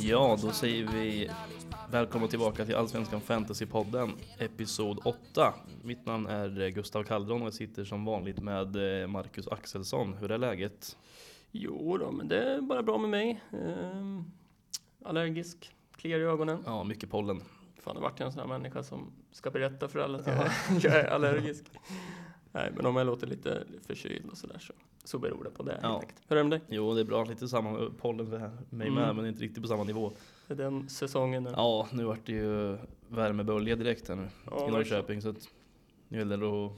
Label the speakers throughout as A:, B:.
A: Ja, då säger vi välkomna tillbaka till Allsvenskan Fantasypodden, episod 8. Mitt namn är Gustav Kalldron och jag sitter som vanligt med eh, Marcus Axelsson. Hur är läget?
B: Jo då, men det är bara bra med mig. Ehm, allergisk, kliar i ögonen.
A: Ja, mycket pollen.
B: Fan, det vart jag en sån här människa som ska berätta för alla att jag, jag är allergisk. Nej, men om jag låter lite förkyld och sådär så, så beror det på det.
A: Ja.
B: Ja. Hur är det med dig?
A: Jo, det är bra. Lite samma pollen för mig med,
B: Mm.
A: men inte riktigt på samma nivå.
B: Det är den säsongen nu.
A: Ja, nu vart det ju värmebölja direkt här nu
B: Ja,
A: i
B: verkligen.
A: Norrköping, så att nu gäller det att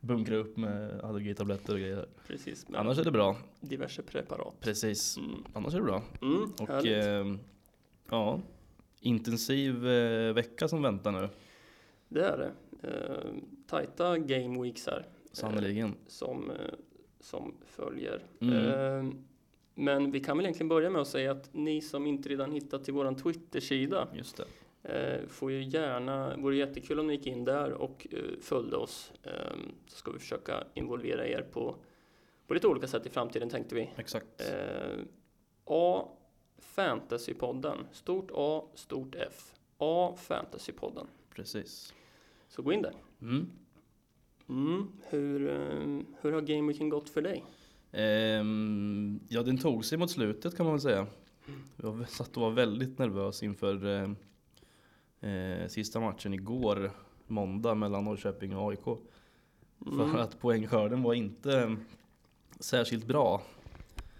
A: bunkra upp med allergitabletter och grejer.
B: Precis, med
A: Annars är det bra.
B: diverse preparat.
A: Precis.
B: Mm.
A: Annars är det bra.
B: Mm,
A: Och
B: härligt.
A: ehm, ja, intensiv eh, vecka som väntar nu,
B: det är det. Ehm, tajta game weeks här.
A: sannerligen.
B: som, eh, som följer.
A: Mm.
B: Eh, Men vi kan väl egentligen börja med att säga att ni som inte redan hittat till våran Twitter-sida
A: Just det.
B: eh, får ju gärna, vore jättekul om ni gick in där och eh, följde oss. Eh, Så ska vi försöka involvera er på, på lite olika sätt i framtiden tänkte vi.
A: Exakt.
B: Eh, A. Fantasypodden. Stort A, stort F. A. Fantasypodden.
A: Precis.
B: Så gå in där.
A: Mm.
B: Mm. Hur, eh, hur har gameweeken gått för dig?
A: Ehm, ja, den tog sig mot slutet kan man väl säga. Jag satt och var väldigt nervös inför eh, eh, sista matchen igår, måndag, mellan Norrköping och AIK.
B: Mm.
A: För att poängskörden var inte eh, särskilt bra.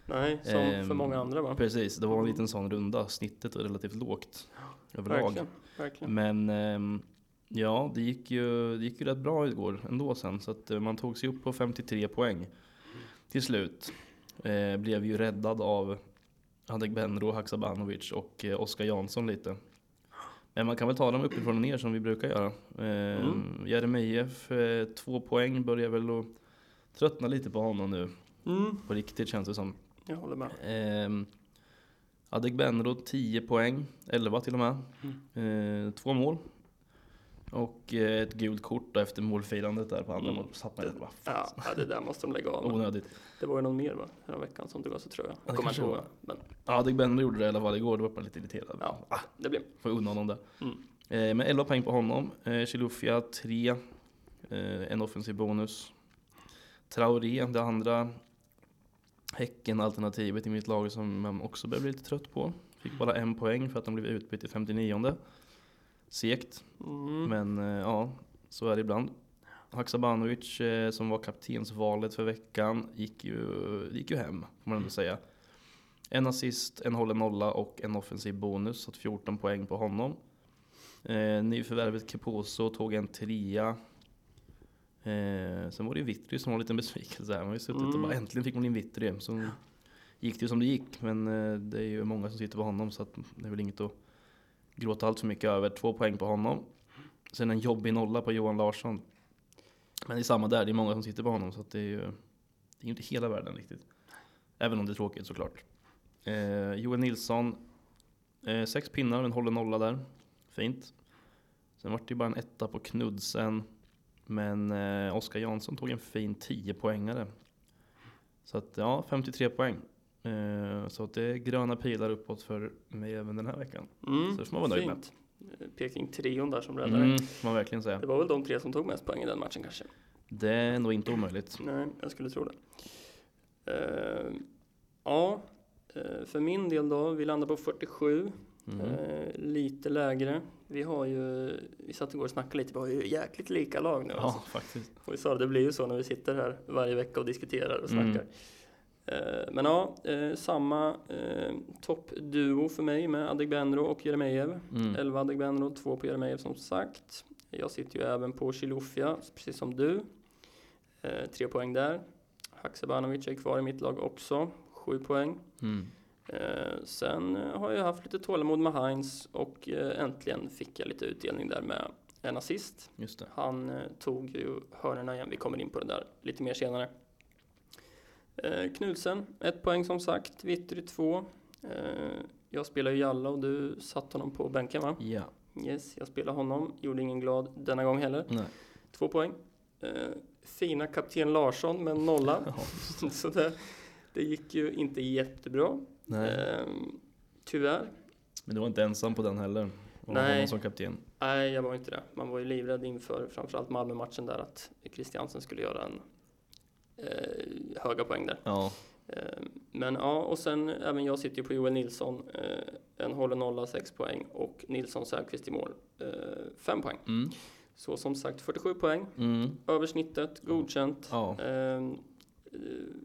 B: Nej, som
A: Ehm,
B: för många andra va?
A: Precis, det var en liten sån runda. Snittet var relativt lågt överlag.
B: Verkligen, verkligen.
A: Men ehm, ja, det gick, ju, det gick ju rätt bra igår ändå sen. Så att eh, man tog sig upp på 53 poäng till slut. Eh, blev ju räddad av Adegbenro, Haksabanovic och eh, Oskar Jansson lite. Men man kan väl ta dem uppifrån och ner som vi brukar göra. Eh,
B: Mm.
A: Jeremejeff, eh, två poäng, börjar väl att tröttna lite på honom nu.
B: Mm,
A: På riktigt känns det som.
B: jag håller med.
A: Ehm, Adegbenro 10 poäng, 11 till och med.
B: Mm.
A: Eh, två mål. Och eh, ett gult kort då efter målfirandet där på andra
B: Mm.
A: mål. Satt man ju där, bara, fan,
B: Ja, ja, det där måste de lägga av med.
A: Onödigt.
B: Det var ju någon mer va? Förra veckan som du gav så tror jag.
A: det
B: Kommer
A: kanske
B: inte ihåg.
A: var.
B: Men
A: Adegbenro gjorde det i alla fall igår, då var man lite irriterad.
B: ja, det blir.
A: Får unna honom där.
B: Mm.
A: Eh, men 11 poäng på honom. Eh, Chilufya 3. Eh, en offensiv bonus. Traoré, det andra Häcken-alternativet i mitt lag som man också börjar bli lite trött på. Fick bara en poäng för att de blev utbytt i 59 Segt.
B: Mm.
A: Men eh, ja, så är det ibland. Haksabanovic eh, som var kaptensvalet för veckan gick ju, gick ju hem, får man ändå säga. En assist, en hållen nolla och en offensiv bonus, så att 14 poäng på honom. Eh, nyförvärvet Keposo tog en trea. Eh, sen var det ju Vittry som var en liten besvikelse här. Man har ju suttit och
B: Mm.
A: bara äntligen fick man in Vittry. Så gick det ju som det gick, men eh, det är ju många som sitter på honom så att det är väl inget att gråta allt för mycket över. Två poäng på honom. Sen en jobbig nolla på Johan Larsson. Men det är samma där, det är många som sitter på honom så att det är ju det är ju inte hela världen riktigt. Även om det är tråkigt såklart. Eh, Joel Nilsson, eh, sex pinnar, men håller nolla där. Fint. Sen vart det ju bara en etta på Knudsen. Men eh, Oskar Jansson tog en fin 10-poängare. Så att ja, 53 poäng. Eh, så att det är gröna pilar uppåt för mig även den här veckan.
B: Mm.
A: Så det får man vara nöjd med.
B: Fint. Eh, Peking-trion där som räddade.
A: Mm, får man verkligen säga.
B: Det var väl de tre som tog mest poäng i den matchen kanske?
A: Det är nog inte omöjligt.
B: Nej, jag skulle tro det. Eh, ja, eh, för min del då. Vi landar på 47.
A: Mm.
B: Eh, lite lägre. Vi har ju, vi satt igår och snackade lite, vi har ju jäkligt lika lag nu.
A: Ja,
B: Alltså.
A: faktiskt.
B: Och vi sa det, det blir ju så när vi sitter här varje vecka och diskuterar och
A: Mm.
B: snackar. Eh, men ja, eh, samma eh, toppduo för mig med Adegbenro och Jeremejeff.
A: Mm.
B: 11 Adegbenro, 2 på Jeremejeff som sagt. Jag sitter ju även på Chilufya, precis som du. Eh, tre poäng där. Haksabanovic är kvar i mitt lag också, sju poäng.
A: Mm.
B: Eh, sen eh, har jag haft lite tålamod med Heinz och eh, äntligen fick jag lite utdelning där med en assist.
A: Just det.
B: Han eh, tog ju hörnorna igen, vi kommer in på det där lite mer senare. Eh, Knudsen, ett poäng som sagt, Vittry två. Eh, jag spelar ju Jalla och du satte honom på bänken va?
A: Ja.
B: Yes, jag spelar honom, gjorde ingen glad denna gång heller.
A: Nej.
B: Två poäng. Eh, fina kapten Larsson med en nolla.
A: Ja.
B: Så det, det gick ju inte jättebra.
A: Nej.
B: Ehm, tyvärr.
A: Men du var inte ensam på den heller. Och
B: Nej.
A: honom som kapten.
B: Nej, jag var inte det. Man var ju livrädd inför framförallt Malmö-matchen där att Christiansen skulle göra en eh, höga poäng där.
A: Ja,
B: Eh, men ja, och sen även jag sitter ju på Joel Nilsson. Eh, en håller nolla, 6 poäng och Nilsson Säfqvist i mål, 5 poäng.
A: mm.
B: Så som sagt 47 poäng,
A: Mm.
B: över snittet, godkänt.
A: ja.
B: Ehm, Eh,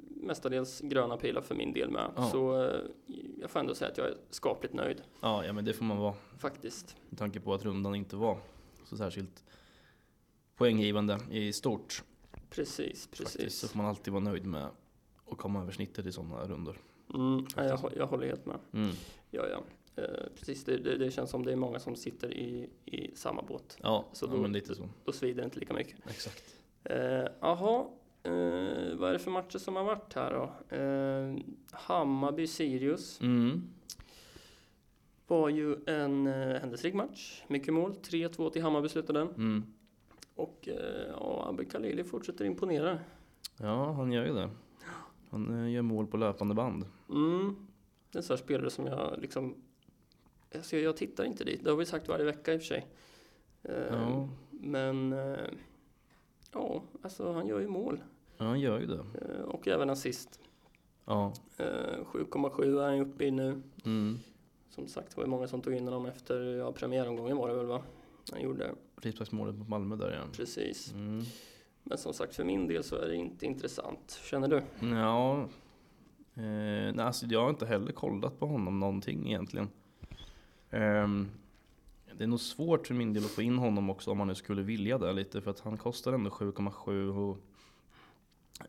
B: mestadels gröna pilar för min del med.
A: Ja.
B: Så eh, jag får ändå säga att jag är skapligt nöjd
A: ja, ja men det får man vara.
B: faktiskt.
A: Med tanke på att rundan inte var så särskilt poänggivande i stort.
B: Precis,
A: Faktiskt. Så
B: precis.
A: får man alltid vara nöjd med att komma över snittet i sådana rundor.
B: Mm, ja, jag, hå- jag håller helt med.
A: Mm.
B: Ja, ja. Eh, precis, det, det, det känns som det är många som sitter i, i samma båt.
A: Ja,
B: Så
A: ja
B: då-
A: men lite så.
B: Då svider det inte lika mycket.
A: Exakt.
B: Eh, Jaha, eh, vad är det för matcher som har varit här då? Eh, Hammarby-Sirius
A: Mm.
B: var ju en eh, händelserik match. Mycket mål, 3-2 till Hammarby slutade den.
A: Mm.
B: Och eh, ja, Abbe Khalili fortsätter imponera.
A: Ja, han gör ju det. Han eh, gör mål på löpande band.
B: Mm. Det är en sån här spelare som jag liksom... Alltså jag, jag tittar inte dit. Det har vi sagt varje vecka i och för sig. Eh,
A: Ja,
B: Men... Eh, ja, alltså han gör ju mål.
A: ja han gör ju det.
B: Eh, och även assist.
A: Ja.
B: Eh, 7,7 är han ju uppe i nu.
A: Mm.
B: Som sagt var det många som tog in honom efter ja, premiäromgången var det väl va? Han gjorde
A: Frisparksmålet mot Malmö där ja.
B: precis.
A: Mm.
B: Men som sagt för min del så är det inte intressant. Känner du?
A: Ja. Eh, nej, alltså jag har inte heller kollat på honom någonting egentligen. Ehm, det är nog svårt för min del att få in honom också om man nu skulle vilja det lite för att han kostar ändå 7,7 och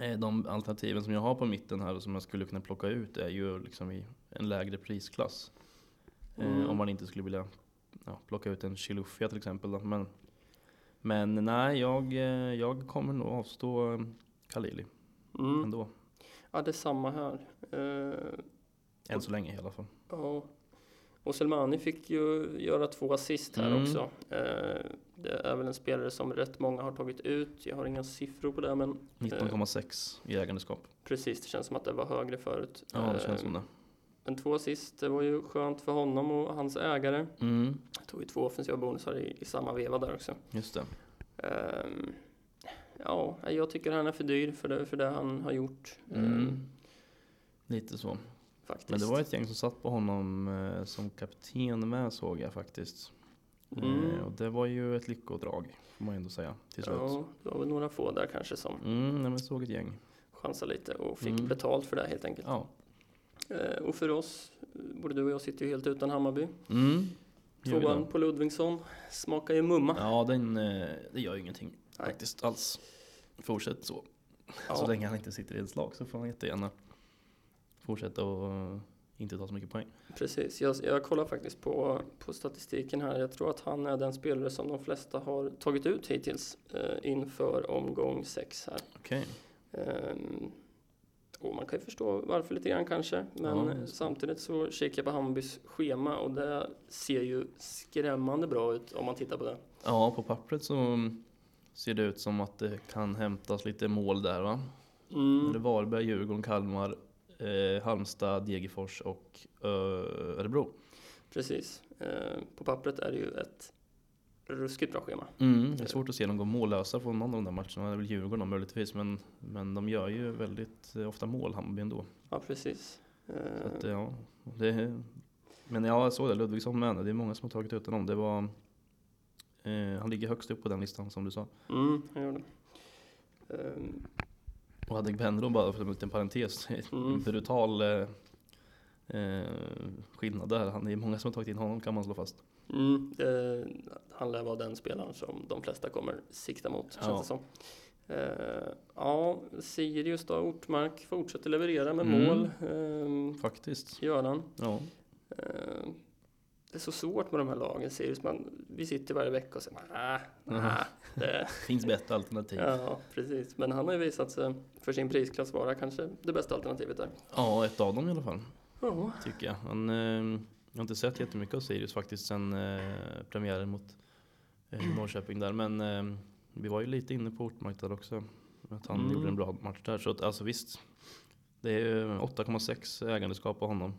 A: eh, de alternativen som jag har på mitten här och som jag skulle kunna plocka ut är ju liksom i en lägre prisklass.
B: Mm.
A: Eh, om man inte skulle vilja ja, plocka ut en Chilufya till exempel. Då. Men, men nej, jag, eh, jag kommer nog avstå eh, Khalili
B: Mm.
A: ändå.
B: Ja, det är samma här. Eh,
A: Än så länge i alla fall.
B: Ja. Och Selmani fick ju göra två assist här
A: Mm.
B: också. Eh, Det är väl en spelare som rätt många har tagit ut. Jag har inga siffror på det, men
A: 19,6 i ägandeskap.
B: precis, det känns som att det var högre förut.
A: Ja, det
B: Eh,
A: känns som det.
B: Men två assist, det var ju skönt för honom och hans ägare.
A: Mm,
B: Jag tog ju två offensiva bonusar i, i samma veva där också.
A: just det.
B: Ehm, Ja, jag tycker han är för dyr för det, för det han har gjort.
A: Mm.
B: ehm,
A: Lite så.
B: Faktiskt.
A: Men det var ett gäng som satt på honom eh, som kapten med såg jag faktiskt.
B: Mm.
A: Eh, och det var ju ett lyckodrag, får man ju ändå säga, till slut.
B: ja, det var väl några få där kanske som
A: Mm, nej, men jag såg ett gäng.
B: chansade lite och fick
A: Mm.
B: betalt för det helt enkelt.
A: Ja.
B: Eh, och för oss, eh, både du och jag sitter ju helt utan Hammarby.
A: Mm. gör vi
B: Tvåan
A: det.
B: på Ludvigsson smakar ju mumma.
A: Ja, den, eh, det gör ju ingenting
B: Nej.
A: faktiskt alls. Fortsätt så.
B: Ja.
A: Så länge han inte sitter i ett slag så får han jättegärna fortsätta och eh, inte ta så mycket poäng.
B: Precis, jag, jag kollar faktiskt på, på statistiken här. Jag tror att han är den spelare som de flesta har tagit ut hittills eh, inför omgång sex här.
A: Okej.
B: Ehm, och man kan ju förstå varför lite grann kanske, men
A: Ja,
B: eh,
A: just det.
B: samtidigt så kikar jag på Hammarbys schema och det ser ju skrämmande bra ut om man tittar på det.
A: Ja, på pappret så ser det ut som att det kan hämtas lite mål där va? Det är
B: Mm.
A: Varberg, Djurgården, Kalmar, eh, Halmstad, Degerfors och Ö- Örebro.
B: Precis, eh, på pappret är det ju ett ruskigt bra schema.
A: Det är svårt att se dem gå mållösa från någon av de där matcherna. Det är väl Djurgården då, möjligtvis, men, men de gör ju väldigt eh, ofta mål, Hammarby ändå.
B: Ja, precis.
A: Så att,
B: Eh,
A: eh, ja, det, men ja, jag såg det, Ludvigsson med. Det är många som har tagit ut honom. Det var, eh, han ligger högst upp på den listan som du sa.
B: mm, jag gör det. Ehm,
A: Och hade Benro bara för en liten parentes,
B: Mm.
A: en brutal eh, eh, skillnad där. Han, det är många som har tagit in honom kan man slå fast.
B: Mm, det han lär vara den spelaren som de flesta kommer sikta mot,
A: Ja.
B: känns det som. Eh, ja, Sirius då, Ortmark fortsätter leverera med
A: Mm.
B: mål. Uh,
A: Faktiskt.
B: gör han.
A: Ja,
B: Eh, det är så svårt med de här lagen, Sirius. Man, vi sitter varje vecka och säger nej, nej. det-
A: finns bättre alternativ. Ja,
B: Ja, precis. Men han har ju visat sig för sin prisklass vara kanske det bästa alternativet där.
A: ett av dem i alla fall,
B: Ja,
A: tycker jag. Han, eh, jag har inte sett jättemycket av Sirius faktiskt sen eh, premiären mot eh, Norrköping där. Men eh, vi var ju lite inne på Ortmark där också. Att han
B: Mm.
A: gjorde en bra match där. Så att, alltså visst, det är ju 8,6 ägandeskap på honom.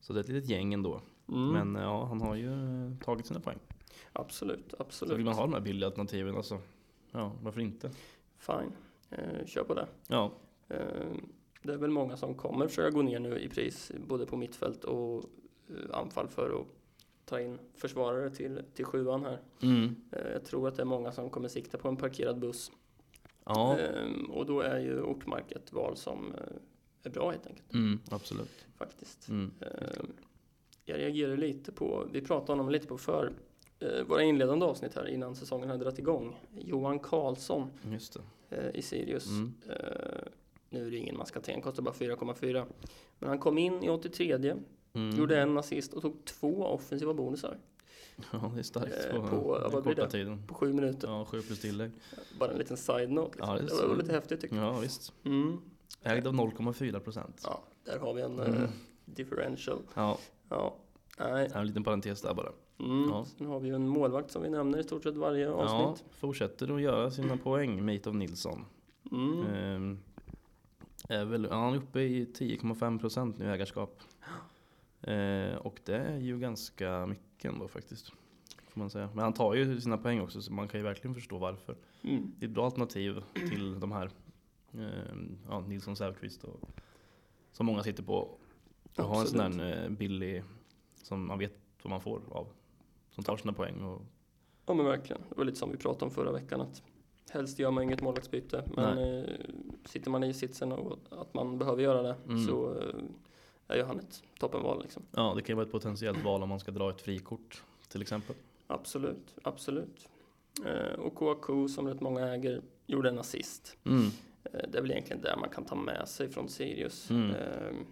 A: Så det är ett litet gäng ändå.
B: Mm.
A: Men eh, ja, han har ju eh, tagit sina poäng.
B: absolut,
A: Så vill
B: absolut.
A: man ha de här billiga alternativen alltså. Ja, varför inte?
B: Fine, eh, kör på det.
A: Ja,
B: Eh, det är väl många som kommer försöka gå ner nu i pris, både på mittfält och eh, anfall för att ta in försvarare till, till sjuan här.
A: mm.
B: Eh, jag tror att det är många som kommer sikta på en parkerad buss.
A: ja.
B: Ehm, och då är ju Ortmark ett val som eh, är bra helt enkelt,
A: Mm, absolut.
B: faktiskt.
A: Mm.
B: Ehm, jag reagerar lite på, vi pratade om honom lite på för eh, våra inledande avsnitt här innan säsongen hade dragit igång. Johan Karlsson
A: Just det.
B: eh, i Sirius.
A: Mm.
B: Eh, nu är det ingen maskatén, kostar bara 4,4. Men han kom in i 83,
A: Mm.
B: gjorde en assist och tog två offensiva bonusar
A: Ja, det är starkt
B: Eh,
A: på,
B: på-
A: den
B: vad blir
A: korta
B: det?
A: tiden.
B: på sju minuter.
A: Ja, sju plus tillägg.
B: Bara en liten side-note. Liksom.
A: Ja, det är
B: det, var
A: så.
B: lite häftigt tycker jag.
A: Ja, visst.
B: Mm.
A: Ägd av 0,4 procent.
B: Ja, där har vi en
A: Mm.
B: eh, differential.
A: Ja,
B: Ja, nej.
A: en liten parentes där bara.
B: Mm.
A: Ja.
B: Sen har vi ju en målvakt som vi nämner i stort sett varje
A: Ja,
B: avsnitt.
A: fortsätter att göra sina poäng, Mitov Nilsson.
B: Mm.
A: Ehm, är väl, ja, han är uppe i 10,5 procent nu i ägarskap. Eh, och det är ju ganska mycket ändå faktiskt. Får man säga. Men han tar ju sina poäng också så man kan ju verkligen förstå varför.
B: Mm.
A: Det är ett bra alternativ till de här ehm, ja, Nilsson Säfqvist och som många sitter på. Och har en sån
B: Absolut.
A: där eh, billig som man vet vad man får av. Som tar sina poäng och
B: Ja men verkligen. Det var lite som vi pratade om förra veckan. Att helst gör man inget målvaktsbyte. Men eh, sitter man i sitsen och att man behöver göra det
A: Mm.
B: så eh, är ju han ett toppenval. Liksom.
A: ja, det kan ju vara ett potentiellt val om man ska dra ett frikort till exempel.
B: Absolut, absolut. Eh, och KK som rätt många äger gjorde en assist.
A: Mm.
B: Eh, Det är väl egentligen det man kan ta med sig från Sirius.
A: Mm.
B: Ehm,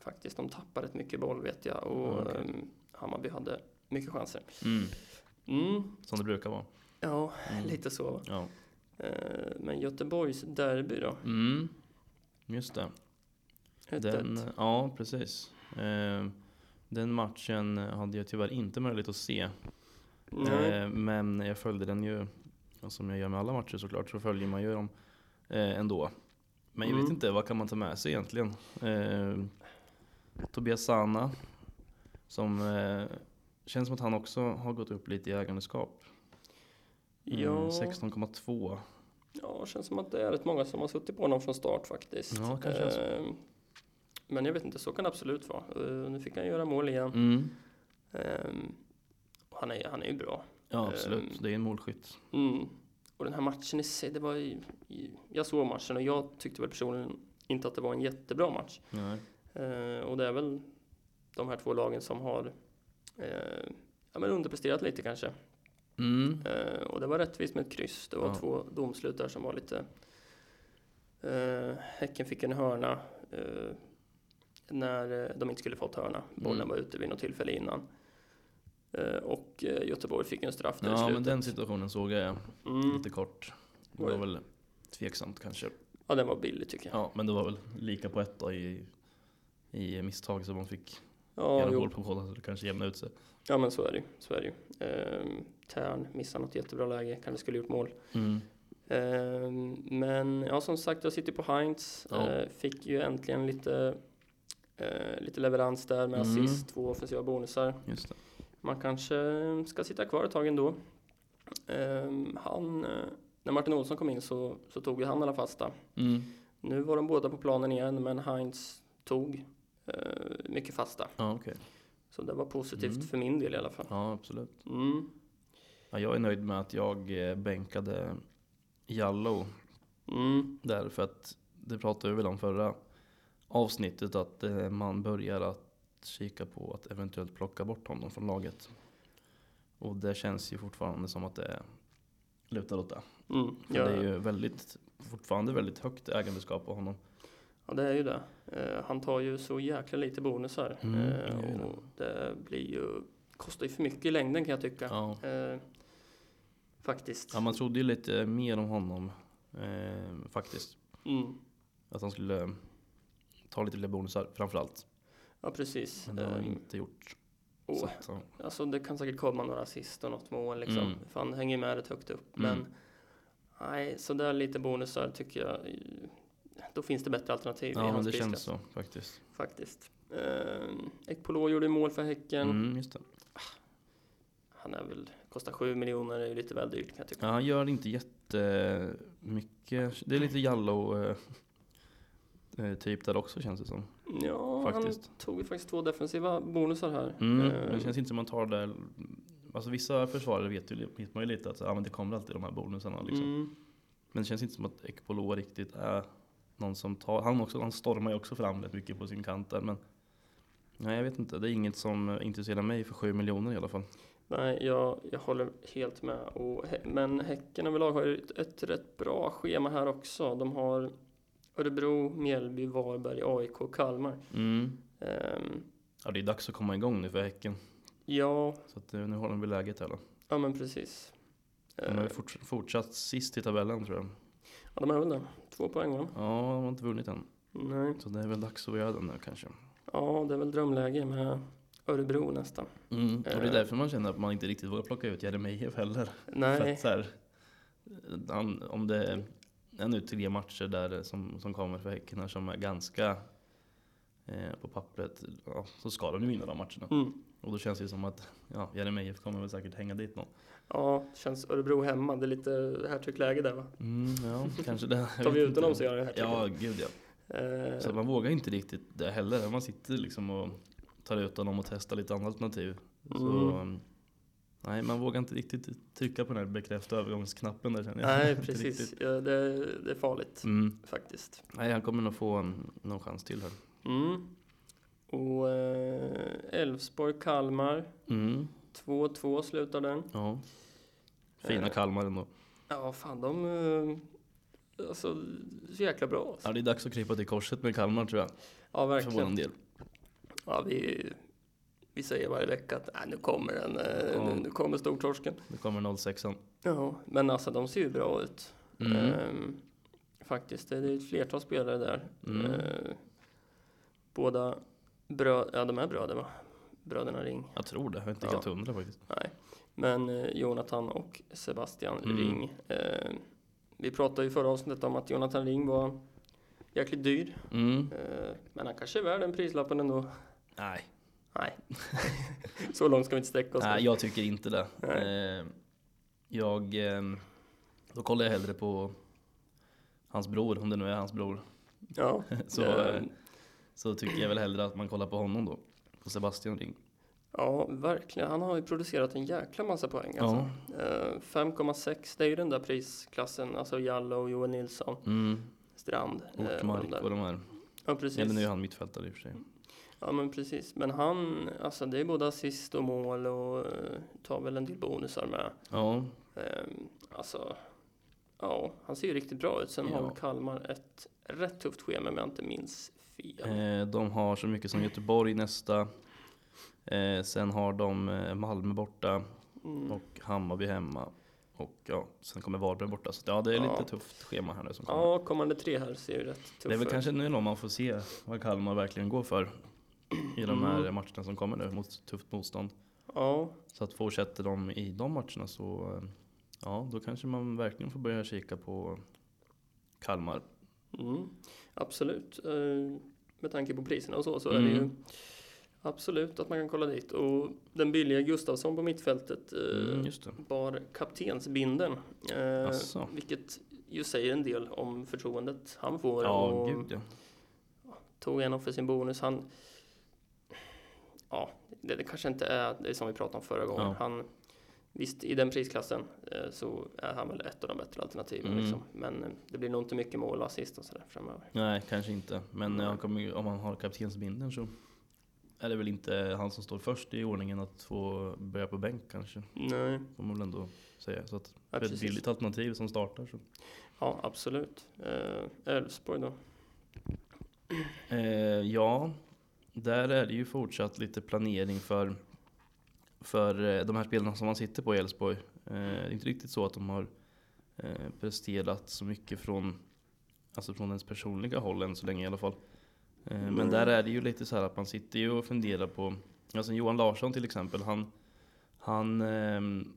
B: faktiskt, de tappar rätt mycket boll vet jag och
A: Okej.
B: ehm, Hammarby hade mycket chanser.
A: Mm.
B: Mm,
A: Som det brukar vara.
B: ja,
A: Mm.
B: lite så. va.
A: Ja.
B: Ehm, men Göteborgs derby då?
A: Mm. Just det.
B: Ett,
A: Den,
B: ett.
A: ja, precis. Eh, den matchen hade jag tyvärr inte möjlighet att se.
B: Nej.
A: Eh, men jag följde den ju, och som jag gör med alla matcher såklart, så följer man ju dem eh, ändå. Men jag vet
B: Mm.
A: inte, vad kan man ta med sig egentligen? Eh, Tobias Sana, som eh, känns som att han också har gått upp lite i ägandeskap. Eh,
B: ja,
A: 16,2.
B: ja, det känns som att det är rätt många som har suttit på honom från start faktiskt.
A: Ja, kanske det är så.
B: Ehm, men jag vet inte, så kan det absolut vara. Ehm, nu fick han göra mål igen.
A: Mm.
B: Ehm, och han, är, han är ju bra.
A: Ja, absolut.
B: Ehm.
A: Det är en målskytt.
B: Mm. Och den här matchen i sig, det var ju, i- jag såg matchen och jag tyckte väl personligen inte att det var en jättebra match.
A: Nej.
B: Eh, och det är väl de här två lagen som har eh, ja, men underpresterat lite kanske.
A: Mm.
B: Eh, och det var rättvist med ett kryss. Det var
A: Ja.
B: två domslut där som var lite... Eh, häcken fick en hörna eh, när eh, de inte skulle fått hörna. Bollen
A: Mm.
B: var ute vid något tillfälle innan. Eh, och eh, Göteborg fick en straff där i
A: Ja, men
B: slutet.
A: den situationen såg jag
B: Mm.
A: lite kort. Det
B: Oj.
A: var väl tveksamt kanske.
B: Ja, den var billig tycker jag.
A: Ja, men det var väl lika på ett då i, i misstag så man fick
B: Ja,
A: göra
B: jo.
A: mål på båda så det kanske jämnade ut sig.
B: ja men så är det ju. Så är det ju. Ehm, Tern missar något jättebra läge, kanske skulle gjort mål.
A: Mm.
B: Ehm, men ja, som sagt, jag sitter på Heinz.
A: Ja.
B: Eh, fick ju äntligen lite, eh, lite leverans där med
A: Mm.
B: assist, två offensiva bonusar.
A: Just det.
B: Man kanske ska sitta kvar ett tag ändå. Ehm, han, eh, när Martin Olsson kom in så, så tog ju han alla fasta.
A: Mm.
B: Nu var de båda på planen igen, men Heinz tog eh, mycket fasta.
A: Ja, okej.
B: Så det var positivt
A: Mm.
B: för min del i alla fall.
A: Ja, absolut.
B: Mm.
A: Ja, jag är nöjd med att jag eh, bänkade Jallow
B: Mm.
A: där för att det pratade vi väl om förra avsnittet att eh, man börjar att kika på att eventuellt plocka bort honom från laget. Och det känns ju fortfarande som att det lutar åt det.
B: Mm,
A: För
B: ja,
A: det är ju väldigt, fortfarande väldigt högt ägandeskap på honom.
B: ja, det är ju det. Eh, han tar ju så jäkla lite bonusar.
A: Mm,
B: eh,
A: det är ju det.
B: och det blir ju, kostar ju för mycket i längden kan jag tycka.
A: Ja.
B: Eh, faktiskt.
A: Ja, man trodde ju lite mer om honom eh, faktiskt.
B: Mm.
A: Att han skulle eh, ta lite fler bonusar framförallt.
B: Ja, precis.
A: Men det har han
B: Eh,
A: inte gjort.
B: och,
A: Så att, ja.
B: alltså, det kan säkert komma några assist och något mål. Liksom.
A: Mm.
B: För han hänger ju med rätt högt upp.
A: Mm.
B: Men nej, så där lite bonusar tycker jag. eh, Då finns det bättre alternativ i
A: ja men
B: hans
A: det
B: prisklass.
A: känns så faktiskt.
B: Faktiskt. Eh, Ekpolo gjorde mål för Häcken.
A: Mm, just det.
B: Han är väl, kostar 7 miljoner, är ju lite väl dyrt kan jag tycka.
A: Ja, han gör inte jättemycket. Det är lite Jallow eh, eh, typ där också känns det som.
B: Ja,
A: Faktiskt.
B: han tog ju faktiskt två defensiva bonusar här.
A: Mm.
B: Eh,
A: men Det känns inte som man tar det där. Alltså vissa försvarare vet, ju, vet man ju lite att så, ja, men det kommer alltid de här bonusarna. Liksom.
B: mm,
A: Men det känns inte som att Ekpolo riktigt är någon som tar. Han, också, han stormar ju också fram rätt mycket på sin kant där. Men nej, jag vet inte. Det är inget som eh, intresserar mig för 7 miljoner i alla fall.
B: nej, jag, jag håller helt med. Och, Hä- men Häcken överlag har ju ett, ett rätt bra schema här också. De har Örebro, Mjällby, Varberg, AIK och Kalmar.
A: Mm.
B: Ehm,
A: Ja, det är dags att komma igång nu för Häcken.
B: ja,
A: Så att, eh, nu har de väl läget här då.
B: ja men precis.
A: De har ju
B: Eh,
A: forts- fortsatt sist i tabellen tror jag.
B: ja, de är väl det. Två poäng va?
A: Ja, de har inte vunnit än.
B: Nej.
A: Så det är väl dags att göra den nu kanske.
B: Ja, det är väl drömläge med Örebro nästan.
A: Mm. Och det
B: Eh.
A: är därför man känner att man inte riktigt vågar plocka ut Jeremejeff heller. För
B: Nej,
A: att så här, han, om det är nu tre matcher där som, som kommer för Häcken här som är ganska eh, på pappret, ja, så ska de ju vinna de matcherna.
B: mm.
A: Och då känns det ju som att ja, Jeremejeff kommer väl säkert hänga dit någon.
B: ja, känns Örebro hemma. Det är lite hattrickläge där va?
A: Mm, ja, kanske det. Jag
B: Tar vi
A: vet
B: ut honom
A: inte.
B: så gör han hattrick.
A: Ja, gud ja.
B: Eh,
A: Så att man vågar inte riktigt det heller. Man sitter liksom och tar ut honom och testar lite andra alternativ. Så,
B: Mm.
A: um, nej, man vågar inte riktigt trycka på den här bekräfta övergångsknappen där känner jag.
B: Nej,
A: Inte
B: precis.
A: riktigt.
B: Ja, det, det är farligt
A: Mm.
B: faktiskt.
A: Nej, han kommer nog få um, någon chans till här.
B: Mm. Och eh, Elfsborg-Kalmar.
A: Mm.
B: 2-2 slutar den.
A: Ja. Fina
B: Eh.
A: Kalmar ändå.
B: Ja, fan de... Eh, alltså, så jäkla bra. Alltså.
A: Ja, det är dags att krypa till korset med Kalmar tror jag.
B: Ja,
A: För vår
B: verkligen.
A: del.
B: Ja, vi, vi säger varje vecka att "Nej, nu kommer den. Eh,
A: Ja.
B: nu, nu kommer stortorsken.
A: Nu kommer 06 an
B: Ja, men alltså de ser ju bra ut.
A: mm.
B: Ehm, faktiskt, det är ett flertal spelare där.
A: Mm.
B: Ehm, båda bröd, ja de är bröder va? Bröderna Ring.
A: Jag tror det. Jag är inte
B: Ja.
A: helt hundra faktiskt.
B: Nej, men eh, Jonathan och Sebastian
A: Mm.
B: Ring. Ehm, vi pratade ju i förra avsnittet om att Jonathan Ring var jäkligt dyr.
A: Mm.
B: Ehm, men han kanske är värd den prislappen ändå.
A: Nej.
B: Nej, så långt ska vi inte sträcka oss.
A: Nej, jag tycker inte det.
B: Nej.
A: Eh, Jag, ehm, då kollar jag hellre på hans bror, om det nu är hans bror.
B: ja,
A: Så,
B: ehm,
A: eh, så tycker jag väl hellre att man kollar på honom då. På Sebastian Ring.
B: Ja, verkligen. Han har ju producerat en jäkla massa poäng. Alltså. Eh, 5,6, det är ju den där prisklassen. Alltså Jalla och Johan Nilsson,
A: Mm.
B: Strand. eh, och de
A: Ortmark
B: där.
A: och de här.
B: Ja, precis.
A: Eller nu är han mittfältare i och för sig.
B: Ja, men precis. Men han, alltså det är både assist och mål och eh, tar väl en del bonusar med.
A: Ja,
B: Eh, alltså, ja, han ser ju riktigt bra ut. Sen har
A: Ja.
B: väl Kalmar ett rätt tufft schema om jag inte minns fel.
A: Eh, de har så mycket som Göteborg nästa. Eh, sen har de eh, Malmö borta
B: Mm.
A: och Hammarby hemma. Och ja, sen kommer Varberg borta. Så ja, det är
B: Ja.
A: lite tufft schema här nu som kommer.
B: Ja, kommande tre här ser ju rätt tuffa
A: Det är väl
B: ut.
A: kanske nu då man får se vad Kalmar verkligen går för i de här
B: Mm.
A: matcherna som kommer nu mot tufft motstånd.
B: Ja,
A: Så att fortsätter de i de matcherna så eh, ja, då kanske man verkligen får börja kika på Kalmar.
B: Mm, absolut. Eh, Med tanke på priserna och så, så är det ju
A: Mm.
B: absolut att man kan kolla dit. Och den billiga Gustafsson på mittfältet eh,
A: Mm, just det.
B: bar kaptensbindeln. Eh,
A: Asså.
B: Vilket ju säger en del om förtroendet han får.
A: Ja,
B: och
A: gud ja.
B: Tog en för sin bonus. Han, ja, det, det kanske inte är det som vi pratade om förra gången.
A: Ja.
B: Han, visst, i den prisklassen eh, så är han väl ett av de bättre alternativen.
A: Mm.
B: Liksom. Men eh, det blir nog inte mycket mål och assist och sådär framöver.
A: Nej, kanske inte. Men
B: Nej.
A: han kommer, ju- om han har kaptensbindeln så är det väl inte han som står först i ordningen att få börja på bänk kanske.
B: Nej,
A: Får man väl ändå säga. Så att
B: ja,
A: det är ett
B: precis.
A: billigt alternativ som startar. Så.
B: Ja, absolut. Eh, Elfsborg då.
A: Eh, ja, där är det ju fortsatt lite planering för, för eh, de här spelarna som man sitter på i Elfsborg. Eh, det är inte riktigt så att de har eh, presterat så mycket från, alltså från ens personliga håll än så länge i alla fall. Eh,
B: Nej.
A: men där är det ju lite så här att man sitter ju och funderar på, alltså Johan Larsson till exempel, han, han ehm,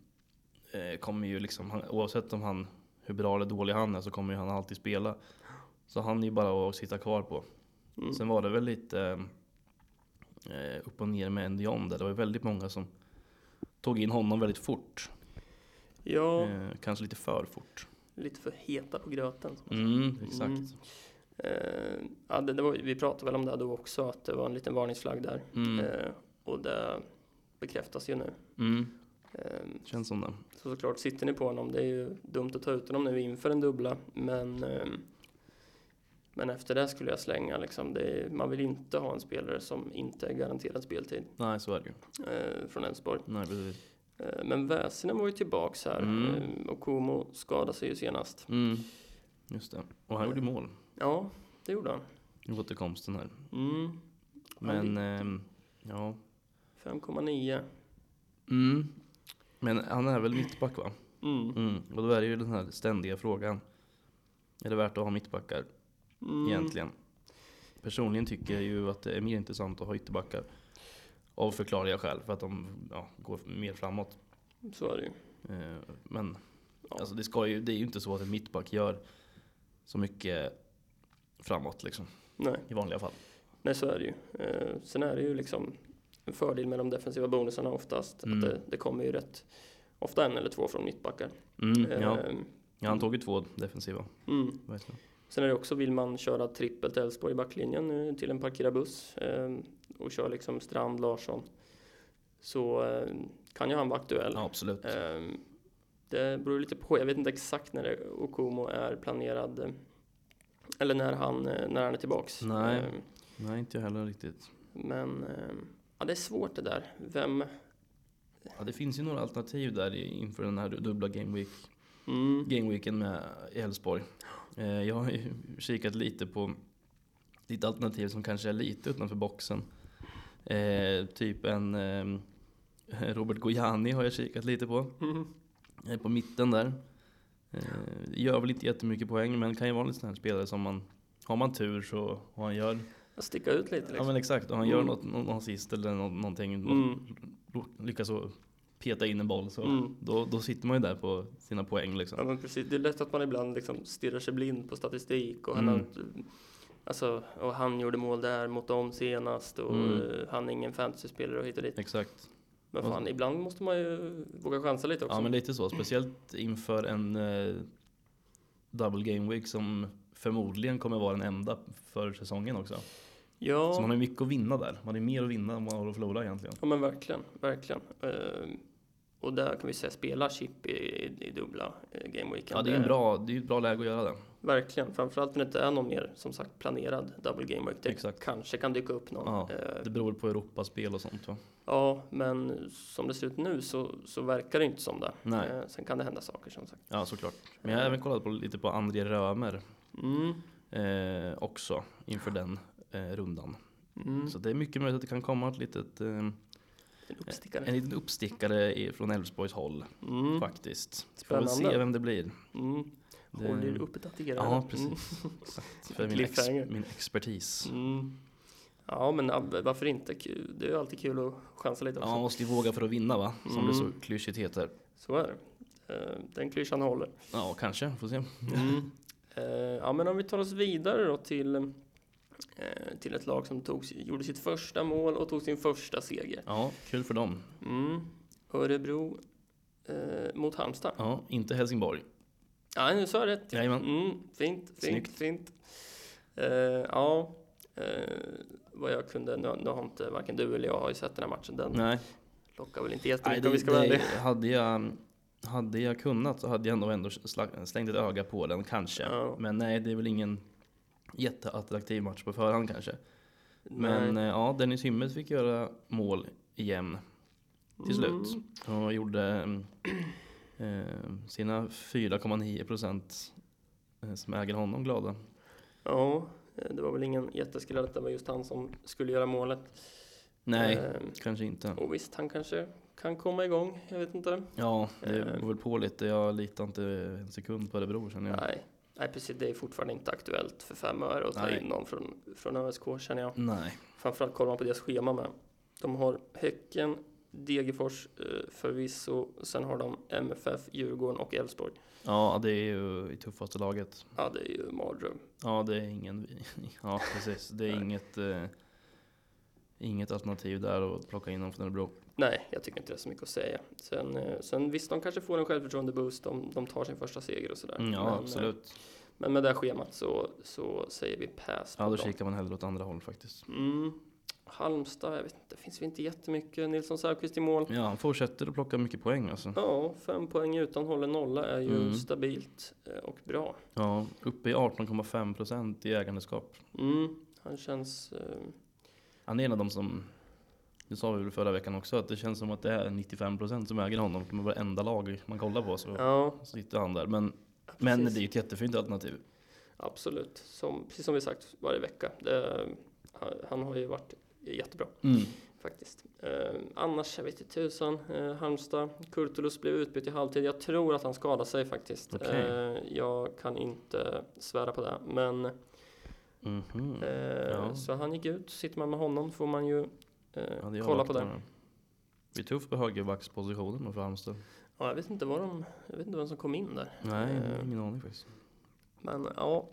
A: eh, kommer ju liksom, han, oavsett om han, hur bra eller dålig han är så kommer ju han alltid spela. Så han är ju bara att sitta kvar på.
B: Mm.
A: Sen var det väl lite, eh, upp och ner med Ndion där. Det var väldigt många som tog in honom väldigt fort.
B: Ja,
A: Eh, kanske lite för fort.
B: lite för heta på gröten. som man säger.
A: Mm, exakt.
B: Mm. Eh, ja, det, det var, vi pratade väl om det då också, att det var en liten varningsflagg där.
A: Mm.
B: Eh, och det bekräftas ju nu.
A: Mm.
B: Eh,
A: Känns som det.
B: så såklart sitter ni på honom. Det är ju dumt att ta ut honom nu inför en dubbla, men eh, men efter det skulle jag slänga liksom. Det är, man vill inte ha en spelare som inte är garanterad speltid
A: Nej, så är det ju.
B: eh, från Elfsborg.
A: Nej, precis.
B: Eh, men Väsinen var ju tillbaks här
A: Mm.
B: eh, och Como skadade sig ju senast.
A: Mm. Just det. Och han gjorde mål
B: Ja, det gjorde han.
A: i återkomsten här.
B: Mm.
A: Men, ehm, ja.
B: 5,9.
A: Mm. Men han är väl mittback va?
B: Mm.
A: Mm. Och då är det ju den här ständiga frågan. Är det värt att ha mittbackar
B: Mm.
A: egentligen? Personligen tycker jag ju att det är mer intressant att ha ytterbackar. Av förklarliga skäl, för att de ja, går mer framåt.
B: Så är det ju.
A: Eh, Men
B: Ja.
A: alltså, det, ska ju, det är ju inte så att en mittback gör så mycket framåt liksom,
B: Nej,
A: i vanliga fall.
B: nej, så är det ju. Eh, sen är det ju liksom en fördel med de defensiva bonusarna oftast.
A: Mm.
B: Att det, det kommer ju rätt ofta en eller två från mittbackar.
A: Mm, ja.
B: Eh,
A: ja, han tog ju två defensiva.
B: mm.
A: verkligen.
B: Sen är det också, vill man köra trippel till Elfsborg i backlinjen eh, till en parkerad buss eh, och köra liksom Strand, Larsson, så eh, kan ju han vara aktuell.
A: Ja, absolut.
B: Ehm, Det beror lite på. Jag vet inte exakt när det- Okumo är planerad. eh, Eller när han, eh, när han är tillbaks.
A: Nej.
B: Ehm,
A: Nej, inte jag heller riktigt.
B: Men ehm, ja, det är svårt det där. Vem?
A: Ja, det finns ju några alternativ där i- inför den här dubbla gameweek,
B: Mm.
A: gameweeken med i Elfsborg. Eh, Jag har ju kikat lite på lite alternativ som kanske är lite utanför boxen. Eh, typ en ehm, Robert Gojani har jag kikat lite på.
B: Mm.
A: Eh, på mitten där. Eh, Gör väl inte jättemycket poäng men kan ju vara en sån här spelare som man har man tur så och han gör
B: Att sticka ut lite
A: Ja
B: liksom.
A: men exakt, och han gör
B: Mm.
A: något, någon assist eller nå- någonting
B: Mm.
A: mm. lyckas så peta in en boll så
B: Mm.
A: då, då sitter man ju där på sina poäng liksom.
B: Ja men precis. Det är lätt att man ibland liksom stirrar sig blind på statistik och han
A: Mm.
B: har inte- Alltså, och han gjorde mål där mot dem senast och
A: Mm.
B: eh, han är ingen fantasyspelare och hit och dit.
A: Exakt.
B: Men
A: Och-
B: fan, ibland måste man ju våga chansa lite också.
A: Ja men lite så, speciellt inför en eh, double game week som förmodligen kommer vara den enda för säsongen också.
B: ja.
A: Så man har ju mycket att vinna där. Man har ju mer att vinna än man har att förlora egentligen.
B: Ja men verkligen, verkligen. Eh, och där kan vi säga spela chip i, i, i dubbla eh, gameweeken.
A: Ja det är ju en bra, det är ju ett bra läge att göra det.
B: Verkligen, framförallt när det inte är någon mer som sagt planerad double gameweek. Det
A: Exakt.
B: kanske kan dyka upp någon.
A: Ja,
B: Eh,
A: Det beror på Europaspel och sånt va?
B: ja men som det ser ut nu så, så verkar det inte som det.
A: Nej.
B: Eh, sen kan det hända saker som sagt.
A: Ja såklart. Men jag har även kollat på, lite på André Römer
B: Mm.
A: eh, också inför den eh, rundan.
B: Mm.
A: Så det är mycket möjligt att det kan komma ett litet, eh,
B: En uppstickare.
A: en liten uppstickare i- från Elfsborgs håll
B: Mm.
A: faktiskt. Får vi se
B: Spännande.
A: vem det blir.
B: Mm.
A: Det-
B: Håller uppdaterade.
A: Ja precis. Exakt. För min, ex,
B: Mm. Cliffhanger.
A: min expertis.
B: Mm. Mm. Ja men ab- varför inte? Kul- Det är ju alltid kul att chansa lite
A: Ja,
B: också.
A: man måste ju våga för att vinna va? Som det så
B: Mm.
A: klyschigt heter.
B: Så är det. Eh, Den klyschan håller.
A: Ja kanske, får se. Mm.
B: Eh, Ja, men om vi tar oss vidare då till, eh, till ett lag som tog, gjorde sitt första mål och tog sin första seger.
A: Ja, kul för dem.
B: Mm. Örebro eh, mot Halmstad.
A: Ja, inte Helsingborg.
B: Ja, nu sa jag rätt.
A: Jajamän.
B: Mm, fint, fint,
A: Snyggt.
B: fint. Eh, ja, eh, vad jag kunde, nu, nu har inte varken du eller jag har ju sett den här matchen. Den
A: Nej.
B: lockar väl inte
A: Nej,
B: jättemycket
A: det,
B: om vi ska vara
A: det,
B: ärliga.
A: hade, jag, hade jag kunnat så hade jag nog ändå slag, slängt ett öga på den kanske.
B: Ja.
A: Men nej, det är väl ingen jätteattraktiv match på förhand kanske.
B: Nej.
A: Men eh, ja, Dennis Hymmet fick göra mål igen till slut.
B: Mm,
A: Och gjorde mm, eh, sina 4,9 procent eh, som äger honom glada.
B: ja, eh, det var väl ingen jätteskräll att det var just han som skulle göra målet.
A: Nej,
B: Eh,
A: kanske inte.
B: Och visst, han kanske kan komma igång. Jag vet inte.
A: Ja, det
B: eh.
A: går väl på lite. Jag litar inte en sekund på Örebro känner jag.
B: Nej. Nej, precis. Det är fortfarande inte aktuellt för fem öre att ta
A: Nej.
B: in någon från, från ÖSK känner jag.
A: Nej.
B: Framförallt kollar man på deras schema med. De har Häcken, Degerfors eh, förvisso. Sen har de MFF, Djurgården och Elfsborg.
A: Ja, det är ju i tuffaste laget.
B: Ja, det är ju en mardröm.
A: Ja, det är ingen... Ja, precis. Det är
B: Nej.
A: inget... Eh, Inget alternativ där att plocka in honom från Örebro.
B: Nej, jag tycker inte det är så mycket att säga. Sen, eh, sen visst, de kanske får en självförtroende-boost om de tar sin första seger och sådär.
A: Mm, ja,
B: men, eh,
A: absolut.
B: Men med det här schemat så, så säger vi pass på
A: Ja, då
B: dem.
A: kikar man hellre åt andra håll faktiskt.
B: Mm. Halmstad, jag vet inte, finns väl inte jättemycket. Nilsson Säfqvist i mål.
A: Ja, han fortsätter att plocka mycket poäng alltså.
B: Ja, fem poäng utan håller nolla är ju
A: Mm.
B: stabilt eh, och bra.
A: Ja, uppe i 18,5 procent i ägandeskap.
B: Mm. Han känns... Eh,
A: Han är en av de som, det sa vi väl förra veckan också, att det känns som att det är 95 procent som äger honom. Det är varenda lag man kollar på så
B: ja,
A: sitter han där. Men, men det
B: precis.
A: är ju ett jättefint alternativ.
B: Absolut. Som, precis som vi sagt varje vecka. Det, han har ju varit jättebra. Faktiskt. Eh, annars, jag vet inte tusan. Eh, Halmstad, Kurtulus blev utbytt i halvtid. Jag tror att han skadade sig faktiskt.
A: Okej.
B: Eh, jag kan inte svära på det. Men,
A: Mhm.
B: eh,
A: Ja.
B: Så han gick ut. Sitter man med honom får man ju
A: Ja,
B: eh,
A: det är
B: kolla på det.
A: avvaktarna. Det är tufft på högerbackspositionen då för Halmstad.
B: Ja, jag, vet inte vad de, jag vet inte vem som kom in där.
A: Nej,
B: Eh,
A: ingen aning faktiskt.
B: Men ja.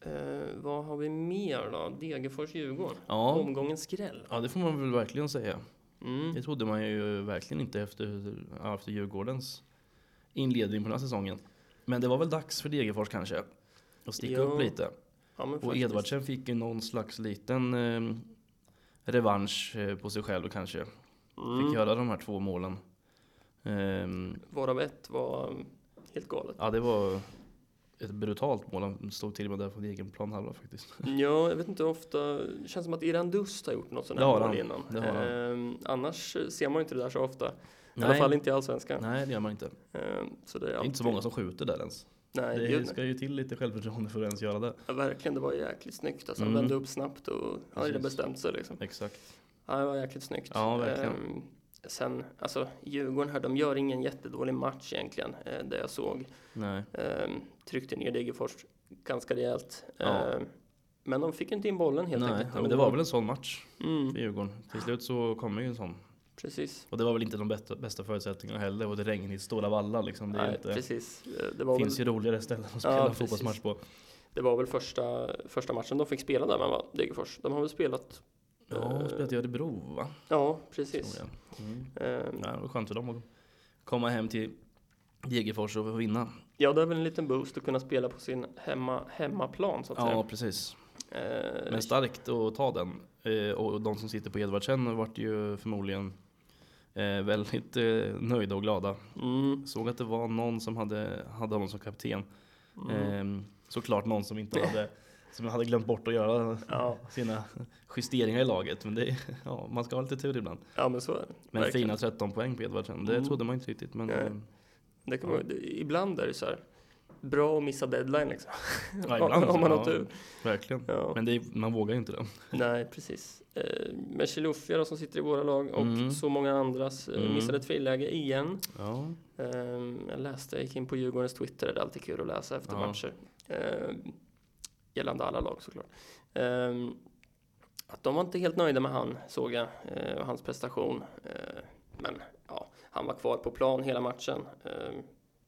B: Eh, vad har vi mer då? Degerfors-Djurgården.
A: Ja,
B: Omgångens skräll.
A: ja, det får man väl verkligen säga.
B: Mm.
A: Det trodde man ju verkligen inte efter, ja, efter Djurgårdens inledning på den här säsongen. Men det var väl dags för Degerfors kanske att sticka
B: Ja,
A: upp lite.
B: Ja, men
A: Och
B: faktiskt.
A: Edvardsen fick ju någon slags liten eh, revansch eh, på sig själv kanske.
B: Mm.
A: Fick göra de här två målen. Ehm,
B: Varav ett var mm, helt galet.
A: ja, det var ett brutalt mål. Han stod till och med där på sin egen planhalva faktiskt.
B: Ja, jag vet inte hur ofta. Det känns som att Irandust har gjort något sånt
A: Det
B: här
A: har
B: mål
A: han.
B: innan.
A: Det har han.
B: Ehm, annars ser man ju inte det där så ofta. I alla fall inte i Allsvenskan.
A: Nej, det gör man inte.
B: Ehm, så det är,
A: Det är inte så
B: alltid-
A: många som skjuter där ens.
B: Nej, det
A: Det ska ju till lite självförtroende för att ens göra det.
B: ja, verkligen. Det var jäkligt snyggt. Alltså,
A: Mm.
B: Han vände upp snabbt och hade
A: Precis.
B: bestämt sig liksom.
A: Exakt.
B: Ja, det var jäkligt snyggt.
A: Ja, verkligen.
B: Ehm, sen, alltså Djurgården här, de gör ingen jättedålig match egentligen. Uh, det jag såg.
A: Nej.
B: Ehm, tryckte ner Degerfors ganska rejält.
A: Ja.
B: Ehm, men de fick inte in bollen helt
A: Nej.
B: enkelt.
A: Ja, men det var väl en sån match.
B: Mm,
A: för Djurgården. Till slut så kommer ju en sån.
B: precis.
A: Och det var väl inte de bästa, bästa förutsättningarna heller. Och det regnade i stora vallar liksom. Det, är
B: Nej,
A: inte,
B: precis. Eh, Det var, väl,
A: finns ju roligare ställen att spela
B: Ja,
A: en fotbollsmatch
B: precis.
A: på.
B: det var väl första, första matchen de fick spela där, men va? Degerfors. De har väl spelat?
A: Ja, de spelade i Örebro va?
B: Ja,
A: Tror
B: precis.
A: jag. Mm.
B: Ehm,
A: Ja, det var skönt för dem att komma hem till Degerfors och vinna.
B: ja, det är väl en liten boost att kunna spela på sin hemma, hemmaplan så att
A: Ja,
B: säga.
A: precis.
B: Ehm,
A: Men starkt att ta den. Eh, Och de som sitter på Edvardsen vart ju förmodligen eh, väldigt eh, nöjda och glada.
B: mm,
A: Såg att det var någon som hade, hade honom som kapten.
B: mm,
A: Ehm, såklart någon som inte hade, som hade glömt bort att göra
B: ja,
A: sina justeringar i laget. Men det, är- ja, man ska ha lite tur ibland.
B: ja, men så är det.
A: Men
B: Verkligen.
A: fina 13 poäng på Edvardsen, det
B: Mm.
A: trodde man inte riktigt. Men,
B: Nej.
A: eh,
B: det kan vara, det, ibland är det så här bra att missa deadline liksom.
A: ja, ibland,
B: Om man
A: så,
B: har tur.
A: Ja, verkligen.
B: Ja.
A: Men det, är- man vågar ju inte det.
B: Nej, precis. Eh, Men Chilufya då som sitter i våra lag och
A: Mm.
B: så många andras eh,
A: Mm.
B: missade ett friläge igen.
A: Ja,
B: Ehm, Jag läste, jag gick in på Djurgårdens Twitter, det är alltid kul att läsa efter
A: Ja.
B: matcher. Ehm, Gällande alla lag såklart. Ehm, Att de var inte helt nöjda med han, såg jag, eh, och hans prestation. Ehm, Men ja, han var kvar på plan hela matchen. ehm,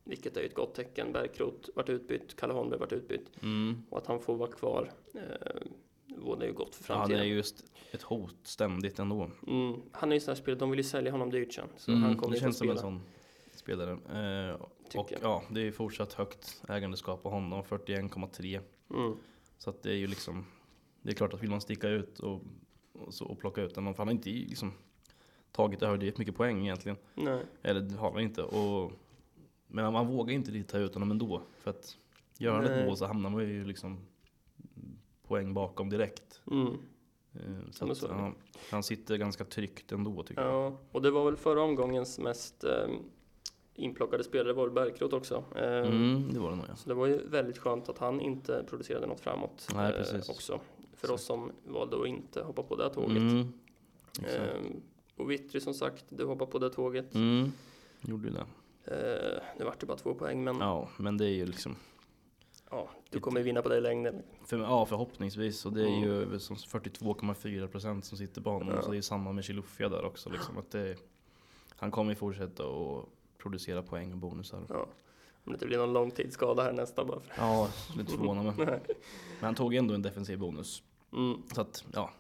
B: Vilket är ju ett gott tecken. Bergkrot vart utbytt, Kalle Holmberg vart utbytt.
A: mm.
B: Och att han får vara kvar ehm, vore ju gott för
A: ja,
B: framtiden.
A: det är just ett hot ständigt ändå.
B: Mm, han är ju en sån här spelare, de vill ju sälja honom dyrt sen. Så han
A: Mm,
B: kommer
A: det
B: inte att
A: känns som en
B: spela,
A: sån spelare. Eh, och
B: tycker
A: ja, det är fortsatt högt ägandeskap på honom, 41,3.
B: jag. Mm.
A: Så att det är ju liksom, det är klart att vill man sticka ut och, och, så, och plocka ut den, för han har inte liksom tagit överdrivet mycket poäng egentligen.
B: Nej,
A: Eller det har han inte. Och, men man vågar inte riktigt ta ut honom ändå. För att gör han
B: Nej.
A: ett mål så hamnar man ju liksom poäng bakom direkt.
B: mm.
A: Eh, Så
B: men
A: att,
B: så är det.
A: ja, han sitter ganska tryggt ändå tycker jag.
B: Ja, och det var väl förra omgångens mest ehm, inplockade spelare var väl Bergkrot också. Ehm,
A: Mm, det var det nog ja.
B: Så det var ju väldigt skönt att han inte producerade något framåt
A: Nej,
B: eh,
A: precis.
B: också. För
A: Exakt.
B: oss som valde att inte hoppa på det tåget.
A: Mm, exakt.
B: Ehm, och Vittry som sagt, du hoppar på det tåget.
A: Mm, gjorde ju det.
B: Ehm, nu vart det bara två poäng, men ja.
A: Ja, men det är ju liksom
B: du kommer ju vinna på det i längden.
A: För, ja, förhoppningsvis. Och det är ju som 42,4 procent som sitter på honom.
B: Ja.
A: Så det är ju samma med Chilufya där också. Liksom, att det, han kommer ju fortsätta att producera poäng och bonusar.
B: Ja. Om det inte blir någon långtidsskada här nästa bara. För...
A: Ja, lite förvånande. Men han tog ändå en defensiv bonus.
B: Mm.
A: Så att, ja.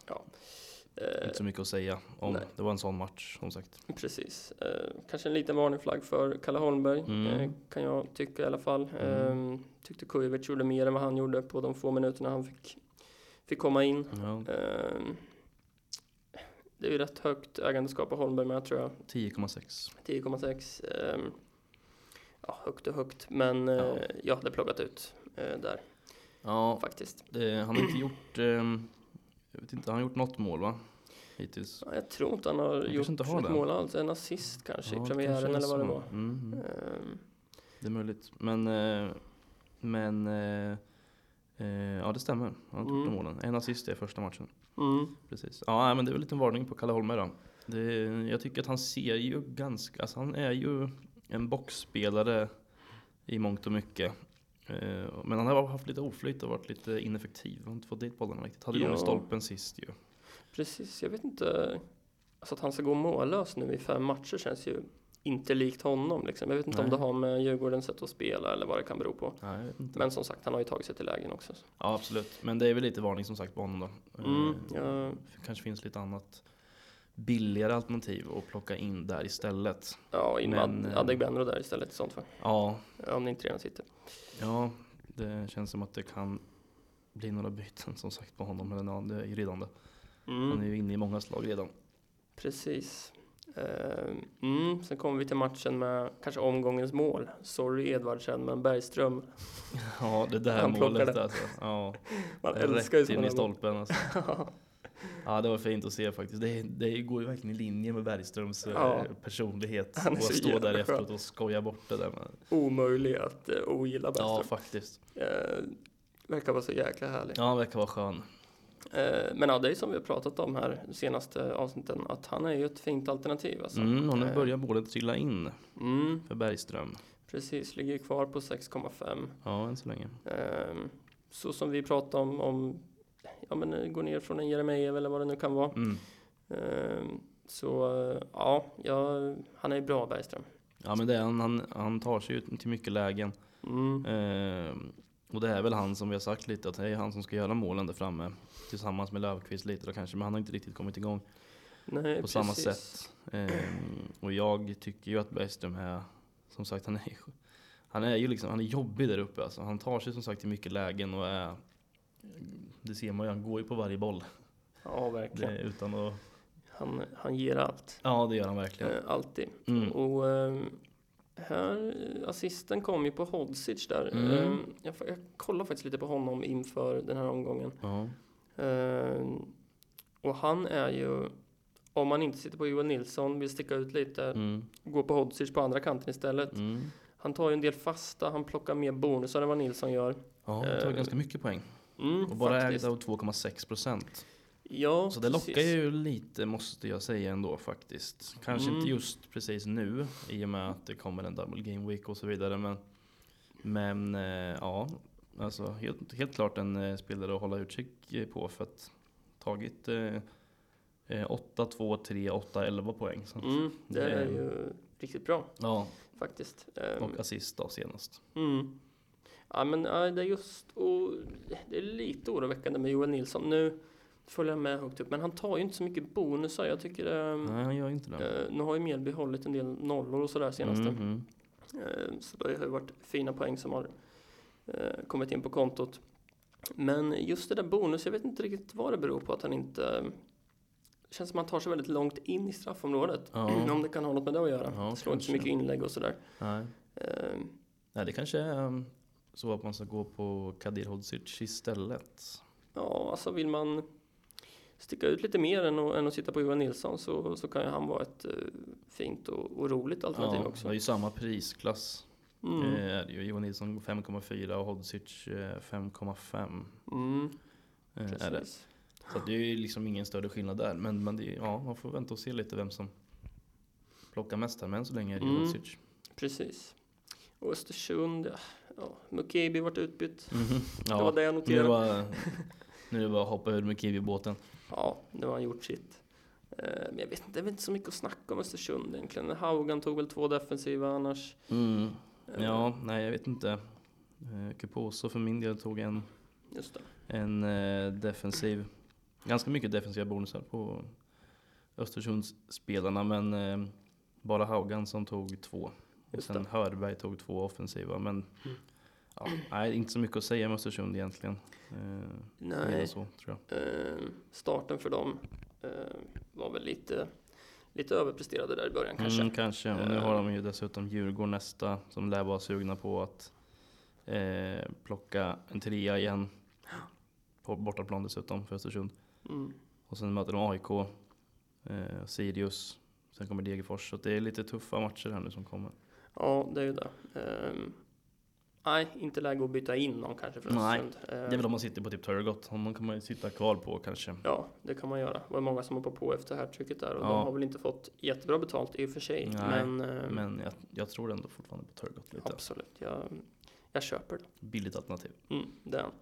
B: Eh,
A: Inte så mycket att säga om.
B: nej.
A: Det var en sån match som sagt.
B: Precis. Eh, kanske en liten varning flagg för Kalle Holmberg,
A: Mm.
B: eh, kan jag tycka i alla fall.
A: Mm.
B: Eh, tyckte Kujovic gjorde mer än vad han gjorde på de få minuterna han fick, fick komma in.
A: Ja,
B: Eh, det är ju rätt högt ägandeskap av Holmberg med, tror jag.
A: 10,6.
B: 10,6. ehm, ja, högt och högt, men eh,
A: Ja.
B: jag hade plockat ut eh, där
A: Ja,
B: faktiskt.
A: det, han har inte gjort... ehm, jag vet inte, han har gjort något mål va? Hittills.
B: Ja, jag tror inte han har
A: kanske
B: gjort
A: inte har
B: ett
A: det.
B: mål alls. En assist kanske
A: Ja,
B: i
A: det kanske
B: premiären
A: är
B: eller vad det
A: så.
B: var.
A: Mm, mm.
B: Ehm,
A: Det är möjligt. Men, eh, men eh, eh, ja det stämmer. Han har inte gjort
B: Mm.
A: de målen. En assist i första matchen.
B: mm.
A: Precis. Ja nej, men det är väl en liten varning på Kalle Holmberg då. Det, jag tycker att han ser ju ganska, alltså han är ju en boxspelare i mångt och mycket. Eh, Men han har haft lite oflyt och varit lite ineffektiv. Han har inte fått dit bollarna riktigt. Hade igång
B: Ja.
A: i stolpen sist ju.
B: Precis, jag vet inte. Alltså att han ska gå mållös nu i fem matcher känns ju inte likt honom. Liksom. Jag vet inte om det
A: Nej.
B: har med Djurgårdens sätt att spela eller vad det kan bero på.
A: Nej, jag vet inte.
B: Men som sagt, han har ju tagit sig till lägen också.
A: Ja absolut. Men det är väl lite varning som sagt på honom då.
B: Mm,
A: Eh,
B: ja,
A: Det kanske finns lite annat billigare alternativ att plocka in där istället.
B: ja, in med
A: Men,
B: Ad-
A: eh,
B: Adegbenro där istället i sånt fall.
A: Ja,
B: Om det inte redan sitter.
A: ja, det känns som att det kan bli några byten som sagt på honom. Men ja, det är ju redan det. Han är
B: Mm,
A: ju inne i många slag redan.
B: precis. Ehm, mm, sen kommer vi till matchen med kanske omgångens mål. Sorry Edvardsen, men Bergström.
A: Ja, det där
B: Han plockar
A: målet
B: den.
A: alltså. Ja,
B: Man
A: rätt
B: älskar ju
A: in
B: sådana
A: i
B: mål.
A: stolpen alltså. Ja, det var fint att se faktiskt. Det, det går ju verkligen i linje med Bergströms eh,
B: Ja.
A: personlighet.
B: Han är
A: och
B: så
A: att stå
B: jävla
A: där
B: skön.
A: efteråt och skoja bort det där. Med.
B: Omöjlig att eh, ogilla
A: Ja,
B: Bergström.
A: faktiskt.
B: Ehm, verkar vara så jäkla härlig.
A: Ja, han verkar vara skön.
B: Eh, Men ja, det är som vi har pratat om här de senaste avsnitten, att han är ju ett fint alternativ. Alltså.
A: Mm, och nu
B: Eh,
A: börjar målet trilla in
B: Mm,
A: för Bergström.
B: precis, ligger kvar på 6,5.
A: Ja, än så länge.
B: Eh, Så som vi pratade om, om ja, men eh, gå ner från en Jeremejeff eller vad det nu kan vara.
A: Mm.
B: Eh, Så eh, ja, ja, han är bra Bergström.
A: Ja men det är han, han, han tar sig ut till mycket lägen.
B: Mm,
A: Ehm, och det är väl han som vi har sagt lite att det är han som ska göra målen där framme. Tillsammans med Löfqvist lite då kanske, men han har inte riktigt kommit igång
B: nej,
A: på samma
B: precis.
A: sätt. Ehm, och jag tycker ju att Bergström är, som sagt han är, han är ju liksom, han är jobbig där uppe alltså. Han tar sig som sagt till mycket lägen och är, det ser man ju, han går ju på varje boll.
B: Ja, verkligen.
A: Det, utan att,
B: Han, han ger allt.
A: ja det gör han verkligen.
B: Eh, Alltid.
A: Mm.
B: Och eh, här, eh, assisten kom ju på Hodzic där.
A: Mm.
B: Eh, Jag, f- jag kollade faktiskt lite på honom inför den här omgången.
A: Ja.
B: Eh, och han är ju, om man inte sitter på Johan Nilsson, vill sticka ut lite,
A: Mm.
B: gå på Hodzic på andra kanten istället.
A: Mm.
B: Han tar ju en del fasta, han plockar mer bonusar än vad Nilsson gör.
A: Ja, han tar
B: Eh,
A: ganska mycket poäng.
B: Mm,
A: Och bara ägd
B: faktiskt.
A: av 2,6 procent.
B: Ja,
A: Så det lockar
B: precis.
A: ju lite måste jag säga ändå faktiskt. Kanske
B: Mm.
A: inte just precis nu i och med att det kommer en double game week och så vidare. Men, men eh, ja, alltså helt, helt klart en eh, spelare att hålla utkik eh, på för att tagit eh, eh, 8, 2, 3, 8, 11 poäng. Så.
B: Mm, det
A: Det-
B: är ju riktigt bra
A: Ja,
B: faktiskt. Eh,
A: och assist då senast.
B: Mm. Ja, men ja, det är just och det är lite oroväckande med Joel Nilsson. Nu följer jag med högt upp, men han tar ju inte så mycket bonusar. Jag tycker ehm,
A: Nej, han gör inte det.
B: eh, nu har ju Mjällby hållit en del nollor och sådär senaste.
A: Mm, mm.
B: Eh, så det har ju varit fina poäng som har eh, kommit in på kontot. Men just det där bonus, jag vet inte riktigt vad det beror på att han inte... Det känns som att han tar sig väldigt långt in i straffområdet.
A: Ja.
B: Om det kan ha något med det att göra.
A: Ja,
B: Slår inte så
A: kanske.
B: mycket inlägg och sådär.
A: Nej.
B: Eh,
A: Nej, det kanske är eh, så att man ska gå på Kadir Hodzic istället.
B: Ja, alltså vill man sticka ut lite mer än att, än att sitta på Johan Nilsson så, så kan ju han vara ett eh, fint och, och roligt alternativ
A: Ja, det
B: också.
A: är ju samma prisklass.
B: Mm.
A: Eh, det är ju Johan Nilsson 5,4 och Hodzic eh, 5,5.
B: Mm,
A: eh, Är det.
B: precis.
A: Så att det är ju liksom ingen större skillnad där. Men, men det, är- ja, man får vänta och se lite vem som plockar mest här. Men än så länge är det ju
B: Mm.
A: Hodzic.
B: precis. Och Östersund, ja, ja, Mukibi vart utbytt. Mm. Det var
A: Ja,
B: det jag
A: nu är det
B: noterade.
A: bara, nu är det bara att hoppa ur med Kiwi-båten.
B: Ja, nu har han gjort sitt. Eh, Men jag vet inte, det är väl inte så mycket att snacka om Östersund egentligen. Haugan tog väl två defensiva annars. Eh,
A: Ja, nej jag vet inte. Eh, Kuposo för min del tog en,
B: Just det.
A: en eh, defensiv. Ganska mycket defensiva bonusar på Östersundsspelarna men eh, bara Haugan som tog två. Och
B: Just
A: sen Hörberg tog två offensiva men
B: Mm.
A: ja, nej, inte så mycket att säga om Östersund egentligen. Eh, mer än
B: Nej,
A: så tror jag.
B: eh, starten för dem eh, var väl lite, lite överpresterade där i början kanske.
A: Mm, kanske. Och nu
B: Eh.
A: har de ju dessutom Djurgården nästa som lär vara sugna på att eh, plocka en trea igen. På bortaplan dessutom för Östersund.
B: Mm.
A: Och sen möter de AIK, eh, Sirius, sen kommer Degerfors. Så att det är lite tuffa matcher här nu som kommer.
B: Ja, det är ju det. Ehm, nej, inte läge att byta in någon kanske Ehm, för
A: Nej,
B: Östersund.
A: Det är väl om man sitter på typ Turgot, honom kan man ju sitta kvar på kanske.
B: Ja, det kan man göra. Det var många som hoppade på efter härtrycket där och
A: Ja.
B: de har väl inte fått jättebra betalt i och för sig.
A: Nej,
B: men ehm,
A: Men jag, jag tror ändå fortfarande på Turgot lite.
B: absolut, jag, jag köper det.
A: Billigt alternativ.
B: Mm, det är han.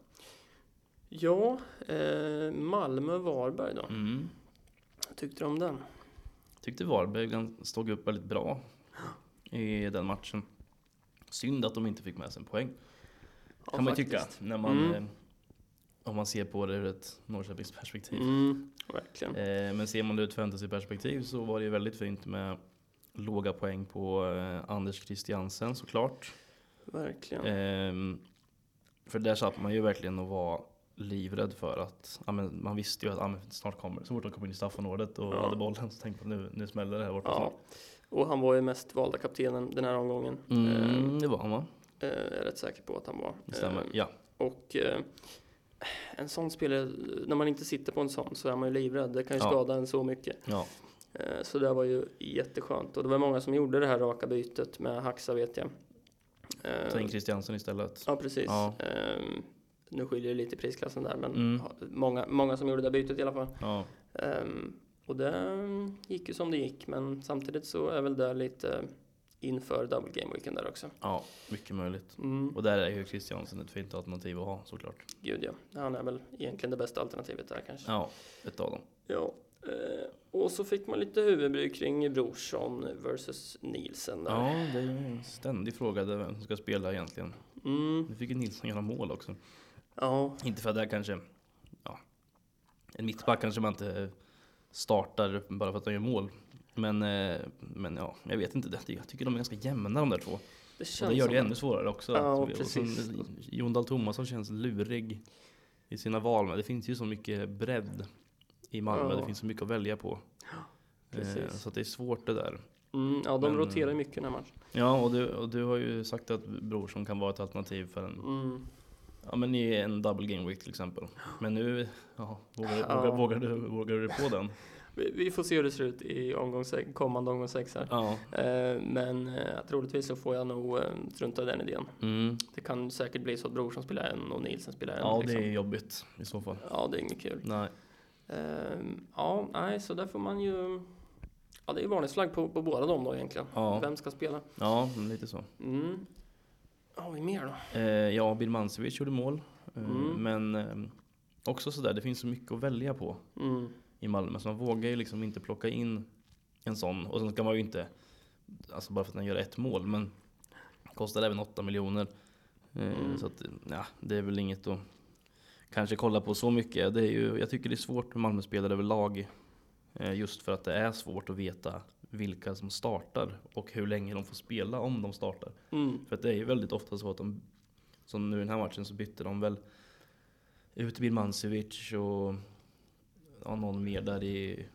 B: Ja, eh, Malmö-Varberg då.
A: Mm.
B: Vad tyckte du om den?
A: Tyckte Varberg gans- stod upp väldigt bra i den matchen. Synd att de inte fick med sig en poäng.
B: Ja,
A: kan man ju
B: faktiskt.
A: tycka. När man,
B: Mm.
A: eh, om man ser på det ur ett Norrköpingsperspektiv.
B: Mm, verkligen.
A: Eh, men ser man det ur ett fantasyperspektiv så var det ju väldigt fint med låga poäng på eh, Anders Christiansen såklart.
B: Verkligen.
A: Ehm, för där satt man ju verkligen och var livrädd för att ja, men man visste ju att ja, men snart kommer Så fort de kom in i straffområdet och
B: Ja.
A: hade bollen så tänkte man nu, nu smäller det här borta
B: Ja.
A: snart.
B: Och han var ju mest valda kaptenen den här omgången. Eh,
A: Mm, det var han va?
B: eh, jag är rätt säker på att han var.
A: Det stämmer.
B: Eh,
A: ja.
B: Och eh, en sån spelare, när man inte sitter på en sån så är man ju livrädd. Det kan ju
A: Ja.
B: skada en så mycket.
A: ja.
B: Eh, så det var ju jätteskönt. Och det var många som gjorde det här raka bytet med Haxa vet jag. Eh,
A: Ta in Christiansen istället.
B: ja, precis.
A: Ja.
B: Eh, nu skiljer det lite i prisklassen där, men
A: Mm.
B: ha- många, många som gjorde det där bytet i alla fall.
A: Ja.
B: Eh, och det gick ju som det gick, men samtidigt så är väl det lite inför double game weekend där också.
A: ja, mycket möjligt.
B: Mm,
A: Och där är ju Christiansen ett fint alternativ att ha såklart.
B: gud ja, han är väl egentligen det bästa alternativet där kanske.
A: Ja, ett av dem.
B: Ja, eh, och så fick man lite huvudbry kring Brorsson versus Nielsen där.
A: Ja, det är ju en ständig fråga där vem som ska spela egentligen.
B: Mm,
A: Nu fick ju Nilsson göra mål också.
B: ja,
A: Inte för att det här kanske, ja, en mittback kanske man inte startar bara för att de gör mål. Men, eh, men ja, jag vet inte. Det. Jag tycker de är ganska jämna de där två.
B: det
A: Och
B: känns
A: det gör
B: som
A: det ännu svårare också.
B: Ja,
A: Och
B: precis.
A: sen, eh, Jon Dahl Tomasson känns lurig i sina val. Men det finns ju så mycket bredd i Malmö.
B: Ja.
A: Det finns så mycket att välja på.
B: precis.
A: Eh, Så att det är svårt det där.
B: Mm, ja, de
A: Men- eh,
B: roterar ju mycket den här matchen.
A: Ja, och du, och du har ju sagt att Brorsson kan vara ett alternativ för en
B: Mm.
A: Ja men i en double game week till exempel. Men nu, ja, vågar,
B: Ja.
A: Vågar, vågar, du, vågar du på den?
B: Vi, vi får se hur det ser ut i omgång sex, kommande omgång sex här.
A: Ja.
B: Eh, men eh, troligtvis så får jag nog eh, strunta i den idén.
A: Mm.
B: Det kan säkert bli så att Brorsson spelar en och Nielsen spelar en.
A: Ja det
B: liksom.
A: är jobbigt i så fall.
B: ja, det är inget kul.
A: Nej.
B: Eh, ja, nej, så där får man ju... Ja, det är varningsflagg på, på båda dem då egentligen.
A: Ja.
B: Vem ska spela?
A: Ja, men lite så.
B: Mm. Har vi mer då?
A: Eh, ja, Birmancevic gjorde mål. Eh,
B: Mm.
A: Men eh, också sådär, det finns så mycket att välja på
B: Mm.
A: i Malmö. Så man vågar ju liksom inte plocka in en sån. Och sen ska man ju inte, alltså bara för att den gör ett mål. Men kostar även 8 miljoner. Eh,
B: Mm.
A: Så att, ja, det är väl inget att kanske kolla på så mycket. Det är ju, jag tycker det är svårt med Malmö-spelare överlag. eh, Just för att det är svårt att veta vilka som startar och hur länge de får spela om de startar.
B: Mm.
A: För att det är ju väldigt ofta så att de, som nu i den här matchen så bytte de väl ut Birmancevic och ja, någon mer där i,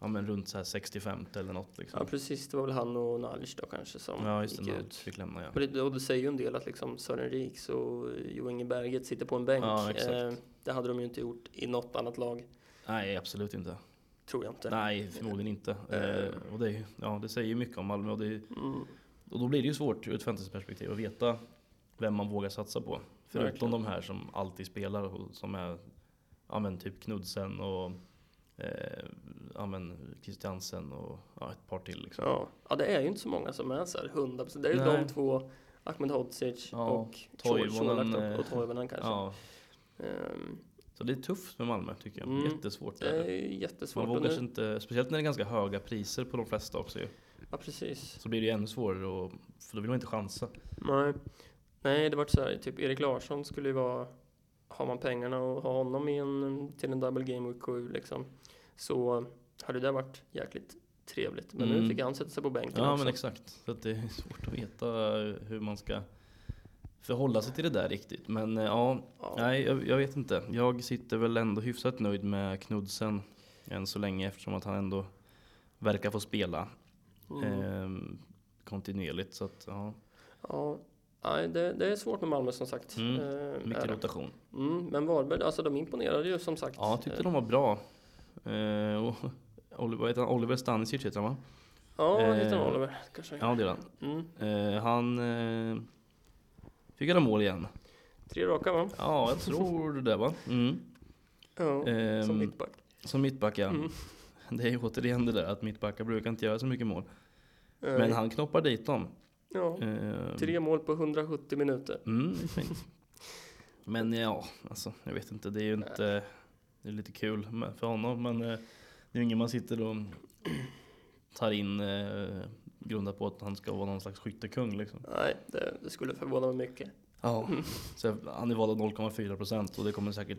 A: ja men runt så här 65 eller något
B: Ja
A: liksom.
B: precis, det var väl han och Nalic då kanske som
A: Ja just det,
B: gick
A: någon
B: ut.
A: fick lämna ja.
B: Och det, och det säger ju en del att liksom Sören Riks och Jo Inge Berget sitter på en bänk. Ehm,
A: Ja, exakt.
B: det hade de ju inte gjort i något annat lag,
A: Nej absolut inte.
B: tror jag inte.
A: Nej förmodligen inte. Eh, och det, är ju- ja, det säger ju mycket om Malmö och, det,
B: Mm.
A: och då blir det ju svårt ur ett fantasyperspektiv att veta vem man vågar satsa på. Förutom
B: Verkligen.
A: de här som alltid spelar och som är ja, men typ Knudsen och eh, ja, men Christiansen och ja, ett par till. Liksom.
B: Ja. ja, det är ju inte så många som är så här 100%. Det är ju
A: Nej.
B: de två, Ahmed Hodzic
A: Ja,
B: och
A: Toivonen,
B: Colak då,
A: eh,
B: och Toivonen kanske.
A: Ja,
B: Ehm,
A: så det är tufft med Malmö tycker jag.
B: Mm.
A: Jättesvårt.
B: det
A: Är
B: är
A: det.
B: ju
A: Man
B: jättesvårt. Och
A: vågar sig
B: nu,
A: inte, speciellt när det är ganska höga priser på de flesta också ju.
B: ja, precis.
A: Så blir det ju ännu svårare och, för då vill man inte chansa.
B: Nej. Nej, det var så här, typ Erik Larsson skulle ju vara har man pengarna och har honom i en, till en double game week 7 liksom, så hade det varit jäkligt trevligt. Men nu
A: Mm.
B: fick han sätta sig på bänken
A: Ja
B: också.
A: men exakt, så att det är svårt att veta hur man ska förhålla sig till det där riktigt. Men eh, ja,
B: ja.
A: nej jag, jag vet inte. Jag sitter väl ändå hyfsat nöjd med Knudsen än så länge eftersom att han ändå verkar få spela
B: Mm.
A: eh, kontinuerligt. Så att, ja,
B: Ja, nej, det, det är svårt med Malmö som sagt.
A: Mm,
B: Eh, är
A: mycket
B: det.
A: rotation.
B: Mm, men Varberg, alltså de imponerade ju som sagt.
A: Ja, jag tyckte
B: Eh,
A: de var bra. Eh, och Oliver, vad heter han? Oliver Stanisic heter han va?
B: Ja,
A: eh,
B: heter han Oliver kanske.
A: Ja det är han.
B: Mm.
A: Eh, han eh, fick göra mål igen.
B: Tre raka va?
A: Ja, jag tror det va? Mm.
B: Ja, som
A: Ehm,
B: mittback.
A: Som mittback ja.
B: Mm.
A: Det är ju återigen det där att mittbackar brukar inte göra så mycket mål.
B: Eh,
A: Men han knoppar dit dem.
B: ja,
A: Eh,
B: tre mål på 170 minuter.
A: Mm, det är fint. Men ja, alltså jag vet inte. Det är ju inte... Det är lite kul med- för honom men eh, det är ju ingen man sitter och tar in eh, grundat på att han ska vara någon slags skyttekung liksom.
B: Nej, det, det skulle förvåna mig mycket.
A: Ja, så han är vald av 0,4 procent och det kommer säkert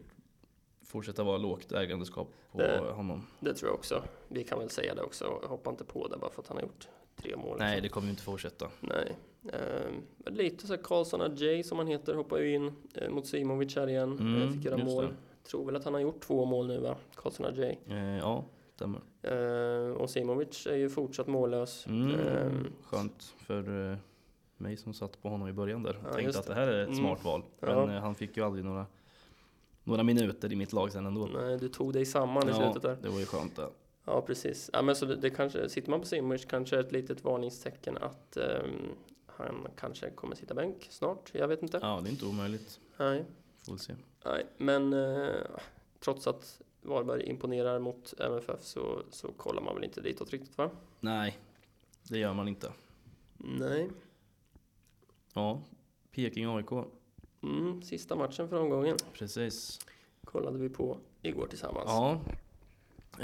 A: fortsätta vara lågt ägandeskap på
B: Det-
A: honom.
B: Det tror jag också. Vi kan väl säga det också. Hoppa inte på det bara för att han har gjort tre mål.
A: Nej, det kommer ju inte fortsätta.
B: Nej. Ehm, men lite så här Karlsson Ajay som han heter hoppar ju in eh, mot Simovic här igen.
A: Mm,
B: Eh, fick göra
A: just
B: mål.
A: det.
B: Tror väl att han har gjort två mål nu va? Karlsson Ajay.
A: Eh, ja, stämmer.
B: Eh, och Simovic är ju fortsatt mållös.
A: Mm,
B: Ehm,
A: Skönt för eh, mig som satt på honom i början där.
B: Ja, just
A: Tänkte att det här är ett
B: Mm.
A: smart val. Men
B: Ja.
A: eh, han fick ju aldrig några, några minuter i mitt lag sen ändå.
B: nej, du tog dig samman i
A: Ja,
B: slutet där.
A: det var ju skönt det.
B: Ja, precis. Ja, men så det, det kanske, sitter man på Simovic kanske ett litet varningstecken att ehm, han kanske kommer sitta bänk snart. Jag vet inte.
A: Ja, det är inte omöjligt.
B: Nej,
A: Får väl se.
B: nej. men eh, trots att Varberg imponerar mot MFF så, så kollar man väl inte ditåt riktigt va?
A: Nej, det gör man inte.
B: Nej.
A: Ja, Peking-AIK.
B: Mm, sista matchen för omgången
A: Precis.
B: kollade vi på igår tillsammans.
A: Ja.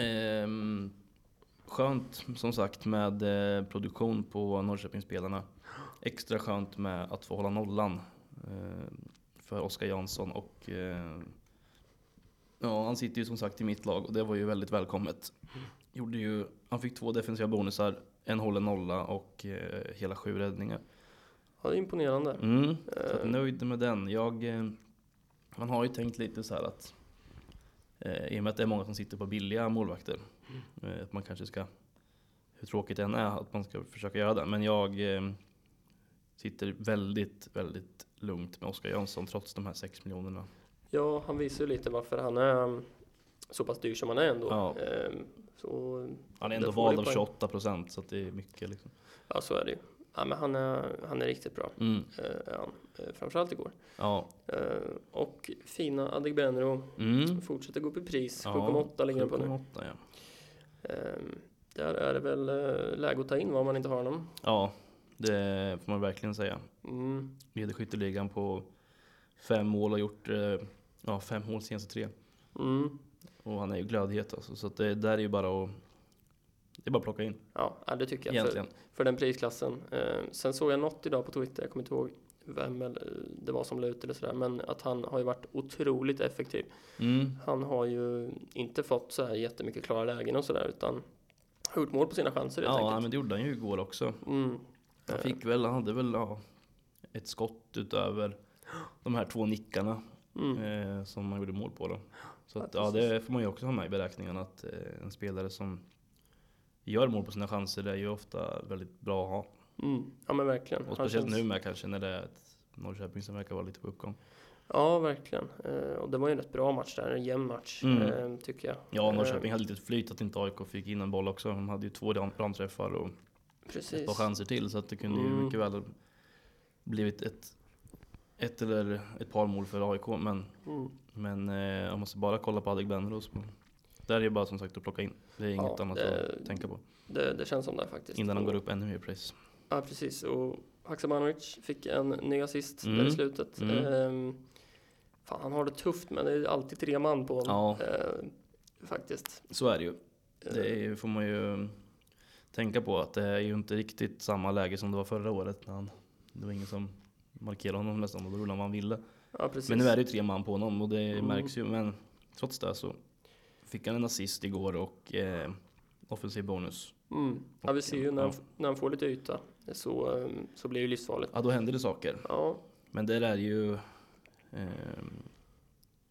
A: Ehm, skönt som sagt med eh, produktion på Norrköpingsspelarna. Extra skönt med att få hålla nollan eh, för Oskar Jansson och eh, ja, han sitter ju som sagt i mitt lag och det var ju väldigt välkommet. Gjorde ju, han fick två defensiva bonusar, en hållen nolla och eh, hela sju räddningar.
B: Ja, det är imponerande.
A: Mm. Så att
B: Eh,
A: nöjd med den. Jag, eh, man har ju tänkt lite så här att eh, i och med att det är många som sitter på billiga målvakter,
B: Mm.
A: eh, att man kanske ska, hur tråkigt det än är, att man ska försöka göra det. Men jag eh, sitter väldigt, väldigt lugnt med Oskar Jansson trots de här 6 miljonerna.
B: Ja, han visar ju lite varför han är ehm, så pass dyr som han är ändå.
A: Ja.
B: Ehm, Så,
A: Han är
B: Där
A: ändå
B: får vi
A: vald av
B: poäng.
A: 28 procent så att det är mycket. Liksom.
B: ja, så är det ju. Ja, men han är, han är riktigt bra.
A: Mm.
B: eh, är han. Eh, Framförallt igår.
A: Ja.
B: Eh, Och fina Adegbenro
A: Mm.
B: fortsätter gå upp i pris.
A: Ja,
B: 7,8 ligger han på nu.
A: 7,8, ja.
B: Ehm, Där är det väl eh, läge att ta in vad om man inte har honom.
A: ja, det får man verkligen säga.
B: Mm.
A: leder skytteligan på fem mål och gjort eh, ja, fem mål senaste tre.
B: Mm.
A: Och han är ju glödhet alltså, så att det där är ju bara att det är bara att plocka in
B: Ja, ja, det tycker jag. För,
A: egentligen.
B: för den prisklassen. Eh, Sen såg jag något idag på Twitter, jag kommer inte ihåg vem eller- det var som la ut eller sådär, men att han har ju varit otroligt effektiv.
A: Mm.
B: Han har ju inte fått så här jättemycket klara lägen och sådär utan har gjort mål på sina chanser helt
A: Ja,
B: enkelt.
A: men det gjorde han ju igår också.
B: Mm.
A: Han
B: Eh,
A: fick väl, han hade väl ja, ett skott utöver de här två nickarna
B: Mm.
A: eh, som han gjorde mål på då. Så
B: Ja,
A: att, ja,
B: precis.
A: det får man ju också ha med i beräkningarna att eh, en spelare som gör mål på sina chanser det är ju ofta väldigt bra att ha.
B: Mm. Ja men verkligen.
A: Och
B: Han
A: speciellt
B: känns-
A: nu med kanske när det är ett Norrköping som verkar vara lite på uppgång.
B: Ja verkligen. Eh, Och det var ju en rätt bra match där, en jämn match
A: Mm.
B: eh, tycker jag.
A: Ja,
B: Eh,
A: Norrköping hade lite flyt att inte AIK fick in en boll också. De hade ju två ram- ramträffar och ett
B: Precis.
A: par chanser till så att det kunde ju
B: Mm.
A: mycket väl ha blivit ett, ett eller ett par mål för AIK. Men,
B: Mm.
A: men eh, jag måste bara kolla på Adegbenros. Där är det bara som sagt att plocka in. Det är
B: Ja,
A: inget annat
B: det-
A: att tänka på
B: Det, det känns som det faktiskt.
A: innan de går upp ännu mer press.
B: Ja precis. Och Haksabanovic fick en ny assist
A: Mm.
B: där i slutet.
A: Mm.
B: Ehm, Fan, han har det tufft men det är alltid tre man på honom. Eh, Faktiskt.
A: Så är det ju.
B: Eh,
A: Det är, ju- får man ju tänka på att det är ju inte riktigt samma läge som det var förra året. När han, det var ingen som markerade honom nästan och då gjorde han vad han ville.
B: Ja, precis.
A: Men nu är det ju tre man på honom och det
B: Mm.
A: märks ju. Men trots det så fick han en assist igår och eh, offensiv bonus.
B: Mm. Ja, vi ser ju när,
A: Ja.
B: han, när han får lite yta så, eh, så blir det ju livsfarligt.
A: Ja, då händer det saker.
B: Ja,
A: Men det är ju... ehm,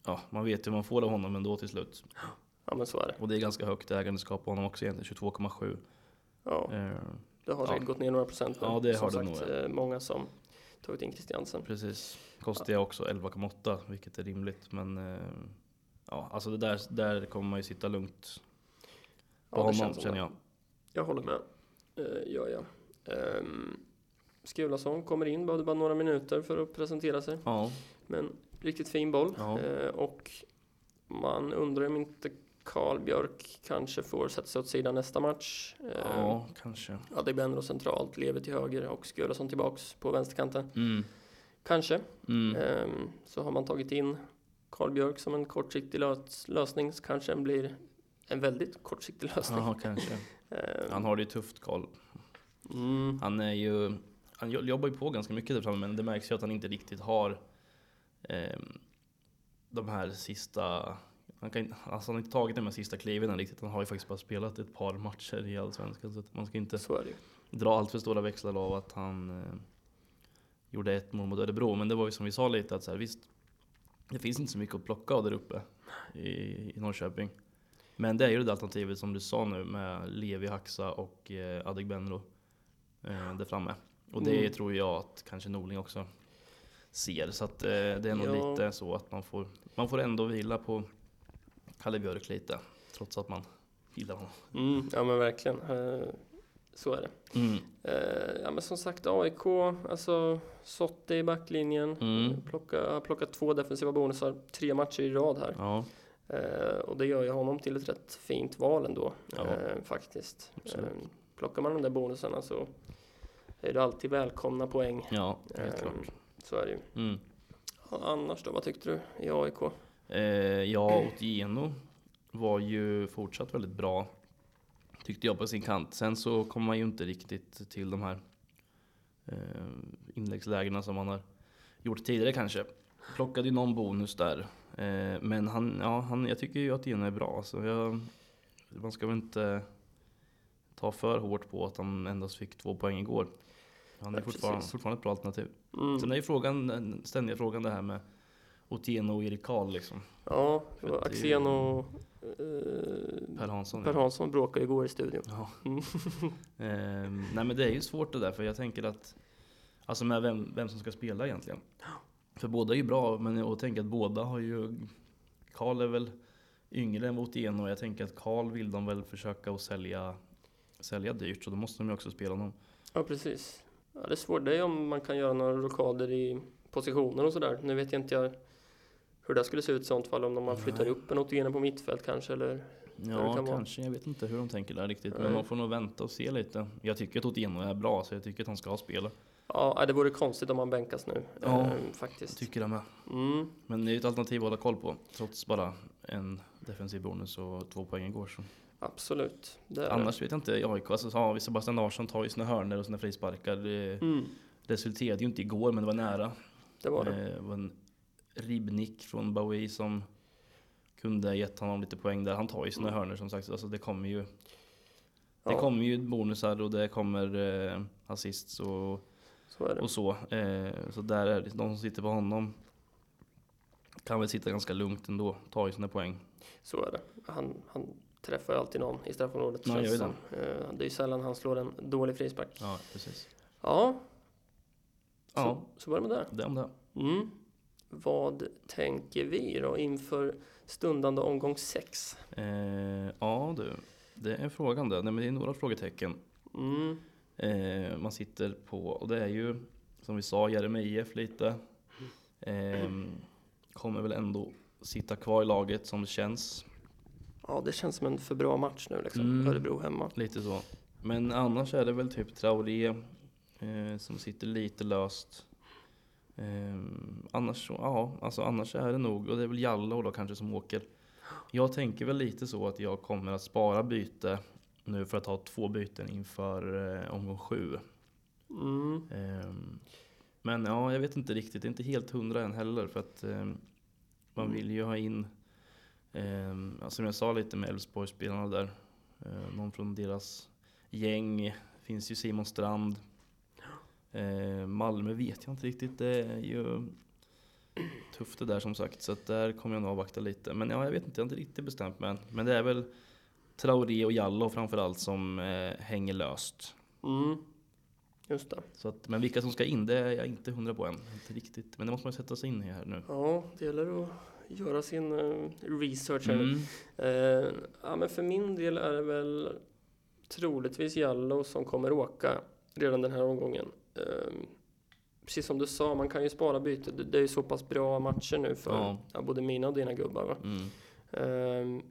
A: ja, man vet ju vad man får av honom ändå till slut.
B: ja men så är det.
A: Och det är ganska högt ägandeskap på honom också egentligen, 22,7.
B: Ja,
A: Eh,
B: det har säkert
A: Ja.
B: gått ner några procent nu.
A: Ja, det
B: Som
A: har det
B: sagt,
A: nog,
B: eh, många som tagit in Christiansen.
A: precis. Kostar jag också 11,8 vilket är rimligt. Men eh, ja, alltså det där, där kommer man ju sitta lugnt på
B: Ja, det
A: honom
B: känns som
A: känner
B: det.
A: jag.
B: Jag håller med. Uh, ja, ja. Ehm, Skulason kommer in, behövde bara några minuter för att presentera sig.
A: Ja,
B: Men riktigt fin boll.
A: Ja.
B: Eh, och man undrar om inte Karl Björk kanske får sätta sig åt sidan nästa match. Eh,
A: ja kanske.
B: Adegbenro centralt, Lever till höger och Skulason tillbaks på vänsterkanten.
A: Mm,
B: Kanske.
A: mm,
B: Ehm, så har man tagit in Karl Björk som en kortsiktig lös- lösning så kanske den blir en väldigt kortsiktig lösning.
A: ja, kanske.
B: Ehm,
A: Han har det ju tufft Karl.
B: mm,
A: Han är ju... Han jo- jobbar ju på ganska mycket där framme men det märks ju att han inte riktigt har ehm, de här sista... Han, kan, inte- alltså han har inte tagit de här sista kliven än riktigt. Han har ju faktiskt bara spelat ett par matcher i Allsvenskan så att man ska inte
B: så är det ju.
A: dra allt för stora växlar av att han eh, gjorde ett mål mot Örebro. Men det var ju som vi sa lite att så här, visst, det finns inte så mycket att plocka av där uppe i, i Norrköping. Men det är ju det alternativet som du sa nu med Levi Haxa och eh, Adegbenro eh, där framme. Och det
B: Mm.
A: tror jag att kanske Norling också ser. Så att eh, det är nog
B: Ja.
A: lite så att man får, man får ändå vila på Kalle Björk lite. Trots att man gillar honom.
B: Mm, ja men verkligen. Eh, så är det.
A: Mm.
B: Eh, ja men som sagt AIK, alltså Sotte i backlinjen.
A: Mm.
B: Plocka, har plockat två defensiva bonusar, tre matcher i rad här.
A: Ja,
B: Eh, och det gör ju honom till ett rätt fint val ändå,
A: Ja.
B: eh, faktiskt.
A: Absolut.
B: Eh, plockar man de där bonusarna så är det alltid välkomna poäng.
A: ja helt
B: Eh,
A: klart.
B: Så är det ju.
A: Mm.
B: Ja, Annars då, vad tyckte du i AIK?
A: Eh, ja, Otieno var ju fortsatt väldigt bra tyckte jag på sin kant. Sen så kom man ju inte riktigt till de här eh, inläggslägena som han har gjort tidigare kanske. Plockade ju någon bonus där. Eh, men han, ja, han, jag tycker ju att Otieno är bra. Så jag, man ska väl inte ta för hårt på att han endast fick två poäng igår. Han är
B: Ja,
A: fortfarande,
B: precis.
A: fortfarande ett bra alternativ. Sen
B: Mm.
A: är ju frågan, den ständiga frågan det här med Otieno och Erik Karl liksom.
B: Ja, det var
A: För att det är
B: Axén
A: ju-
B: och eh,
A: Per Hansson.
B: Per Hansson bråkade ju igår i studion.
A: Ja.
B: Mm.
A: Ehm, nej men det är ju svårt det där för jag tänker att Alltså med vem, vem som ska spela egentligen. För båda är ju bra men jag tänker att båda har ju Karl är väl yngre än Votieno och jag tänker att Karl vill de väl försöka att sälja Sälja dyrt så då måste de ju också spela någon.
B: Ja, precis. Ja, det är svårt det är om man kan göra några rockader i positioner och sådär. Nu vet jag inte jag hur det skulle se ut i sånt fall, om man flyttar
A: Nej.
B: upp en åtgärd på mittfält kanske eller... det
A: Ja
B: kan vara.
A: kanske, jag vet inte hur de tänker där riktigt.
B: Nej.
A: Men man får nog vänta och se lite. Jag tycker att Votieno är bra så jag tycker att han ska spela.
B: Ja, nej, det vore konstigt om man bänkas nu,
A: Ja,
B: ehm,
A: Jag
B: faktiskt.
A: tycker det med.
B: Mm.
A: Men det är ju ett alternativ att hålla koll på. Trots bara en defensiv bonus och två poäng igår så.
B: Absolut. Det är
A: Annars vet jag inte i AIK. Alltså, ja, Sebastian Larsson tar ju sina hörner och sina frisparkar. Det
B: det. Mm,
A: resulterade ju inte igår, men det var nära.
B: det var det.
A: Eh, var en ribbnick från Bowie som kunde ha gett honom lite poäng där. Han tar ju sina
B: Mm.
A: hörner som sagt. Alltså, det kommer ju
B: Ja,
A: Det kommer ju bonusar och det kommer eh, assists och,
B: så är det.
A: och så. Eh, så där är det. De som sitter på honom kan väl sitta ganska lugnt ändå. Tar ju sina poäng.
B: Så är det. Han, han träffar ju alltid någon i straffområdet.
A: Ja,
B: känns
A: gör ju
B: som. Eh, det är ju sällan han slår en dålig frispark.
A: Ja, precis.
B: Ja,
A: Ja,
B: så, så var det med det.
A: det om det.
B: Mm. Vad tänker vi då inför stundande omgång 6?
A: Eh, ja du, det är frågan det. Nej, men det är några frågetecken.
B: Mm.
A: Eh, man sitter på, och det är ju som vi sa, Jeremy IF lite. Eh, kommer väl ändå sitta kvar i laget som det känns.
B: Ja, det känns som en för bra match nu liksom.
A: Mm.
B: Örebro hemma.
A: Lite så. Men annars är det väl typ Traoré eh, som sitter lite löst. Eh, annars så, ja, alltså annars är det nog, och det är väl Jallow då kanske som åker. Jag tänker väl lite så att jag kommer att spara byte nu för att ha två byten inför eh, omgång sju.
B: Mm.
A: Ehm, Men ja, jag vet inte riktigt. Det är inte helt hundra än heller för att eh, man vill ju ha in, eh, ja, som jag sa lite med Elfsborgsspelarna där, eh, någon från deras gäng. Finns ju Simon Strand. Eh, Malmö vet jag inte riktigt. Det är ju tufft det där som sagt. Så att där kommer jag nog avvakta lite. Men ja, jag vet inte. Jag har inte riktigt bestämt mig än. Men det är väl Traoré och Jallo framförallt som eh, hänger löst.
B: Mm. Just det.
A: Så att, men vilka som ska in, det är jag inte hundra på än. Inte riktigt. Men det måste man ju sätta sig in i här nu.
B: Ja, det gäller att göra sin eh, research. här.
A: Mm.
B: Eh, ja, men för min del är det väl troligtvis Jallo som kommer åka redan den här omgången. Eh, precis som du sa, man kan ju spara byte. Det, det är ju så pass bra matcher nu för ja.
A: Ja.
B: både mina och dina gubbar. Va?
A: Mm.
B: Ehm,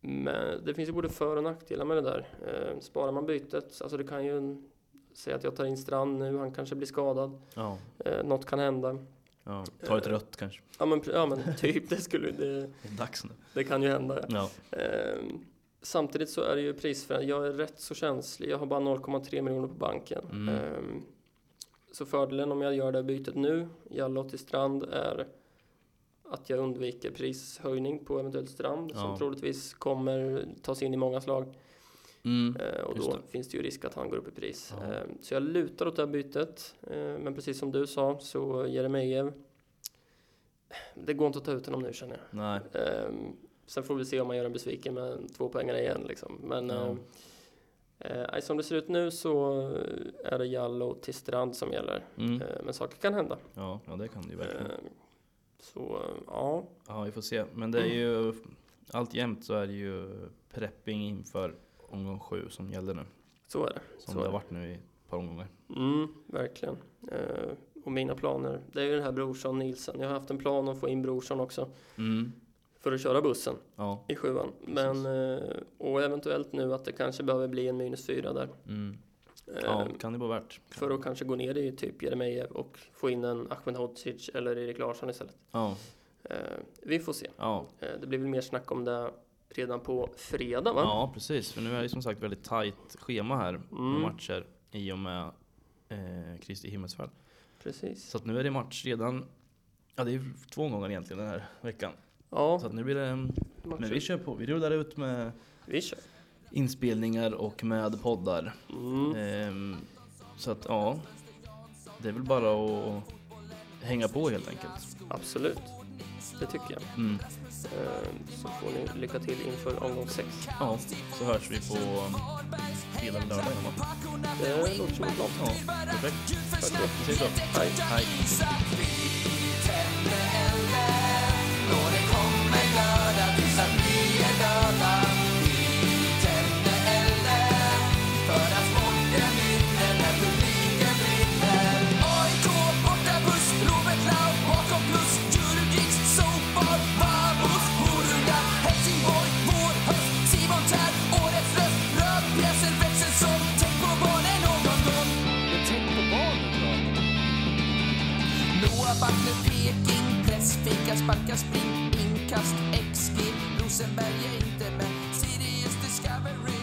B: Men det finns ju både för och nackdelar med det där. Ehm, Sparar man bytet, alltså det kan ju en- säga att jag tar in Strand nu, han kanske blir skadad.
A: Ja,
B: Ehm, Något kan hända.
A: ja. Ta ett rött kanske.
B: Ja men, pr- ja, men typ, det, skulle, det,
A: Det är dags nu.
B: det kan ju hända. ja.
A: Ja.
B: Ehm, Samtidigt så är det ju prisförändring. Jag är rätt så känslig, jag har bara 0,3 miljoner på banken.
A: Mm.
B: Ehm, Så fördelen om jag gör det här bytet nu, Jallow till Strand, är att jag undviker prishöjning på eventuellt Strand som
A: Ja.
B: troligtvis kommer tas in i många slag.
A: Mm.
B: Eh, Och
A: Just
B: då
A: det.
B: finns det ju risk att han går upp i pris.
A: Ja.
B: Eh, Så jag lutar åt det här bytet. Eh, Men precis som du sa så Jeremejeff. eh, Det går inte att ta ut honom nu känner jag.
A: Nej.
B: Eh, Sen får vi se om man gör en besviken med två poängare igen liksom. Men
A: Ja.
B: eh, eh, nej, som det ser ut nu så är det Jallow till Strand som gäller.
A: Mm.
B: Eh, Men saker kan hända.
A: Ja, ja, det kan det ju verkligen.
B: Eh, Så eh, ja,
A: Ja, vi får se. Men det är ju allt jämt så är det ju prepping inför omgång sju som gäller nu.
B: så är det.
A: Som
B: Så är
A: det
B: det.
A: har varit nu i ett par omgångar.
B: Mm, verkligen. Eh, och mina planer, det är ju den här brorsan Nilsen. Jag har haft en plan att få in brorsan också
A: Mm.
B: för att köra bussen
A: Ja.
B: i sjuan. Men, eh, och eventuellt nu att det kanske behöver bli en minus fyra där.
A: Mm.
B: Eh,
A: ja, kan det vara värt.
B: För att kanske gå ner i typ Jeremejeff och få in en Ahmed Hodzic eller Erik Larsson istället.
A: Ja,
B: Eh, vi får se.
A: ja.
B: Eh, det blir väl mer snack om det redan på fredag va?
A: ja, precis. För nu är det som sagt väldigt tajt schema här
B: Mm.
A: med matcher i och med eh, Kristi himmelsfärd.
B: Precis.
A: Så att nu är det match redan. Ja, det är ju två omgångar egentligen den här veckan.
B: Ja,
A: Så att nu blir det. mm, Men vi
B: matcher.
A: kör på. Vi rullar ut med
B: vi kör.
A: inspelningar och med poddar.
B: Mm.
A: Ehm, så att ja, det är väl bara att hänga på helt enkelt.
B: Absolut. Det tycker jag.
A: Mm.
B: Eh, så får ni lycka till inför omgång sex.
A: Ja, så hörs vi på fredag eller lördag. Ja,
B: Det låter som en plan.
A: perfekt. Vi ses då.
B: Hej.
A: Hej.
C: AIK borta buss, Robert Laul bakom plus Djurgårdens sopor, Babos Borunda Helsingborg, vår höst Simon Tern, årets röst Rödpjäser växer som Tänk på barnen någon gång Noah Backlund, Peking Press, fika, sparka, spring Inkast, XG Rosenberg är inte med Sirius Discovery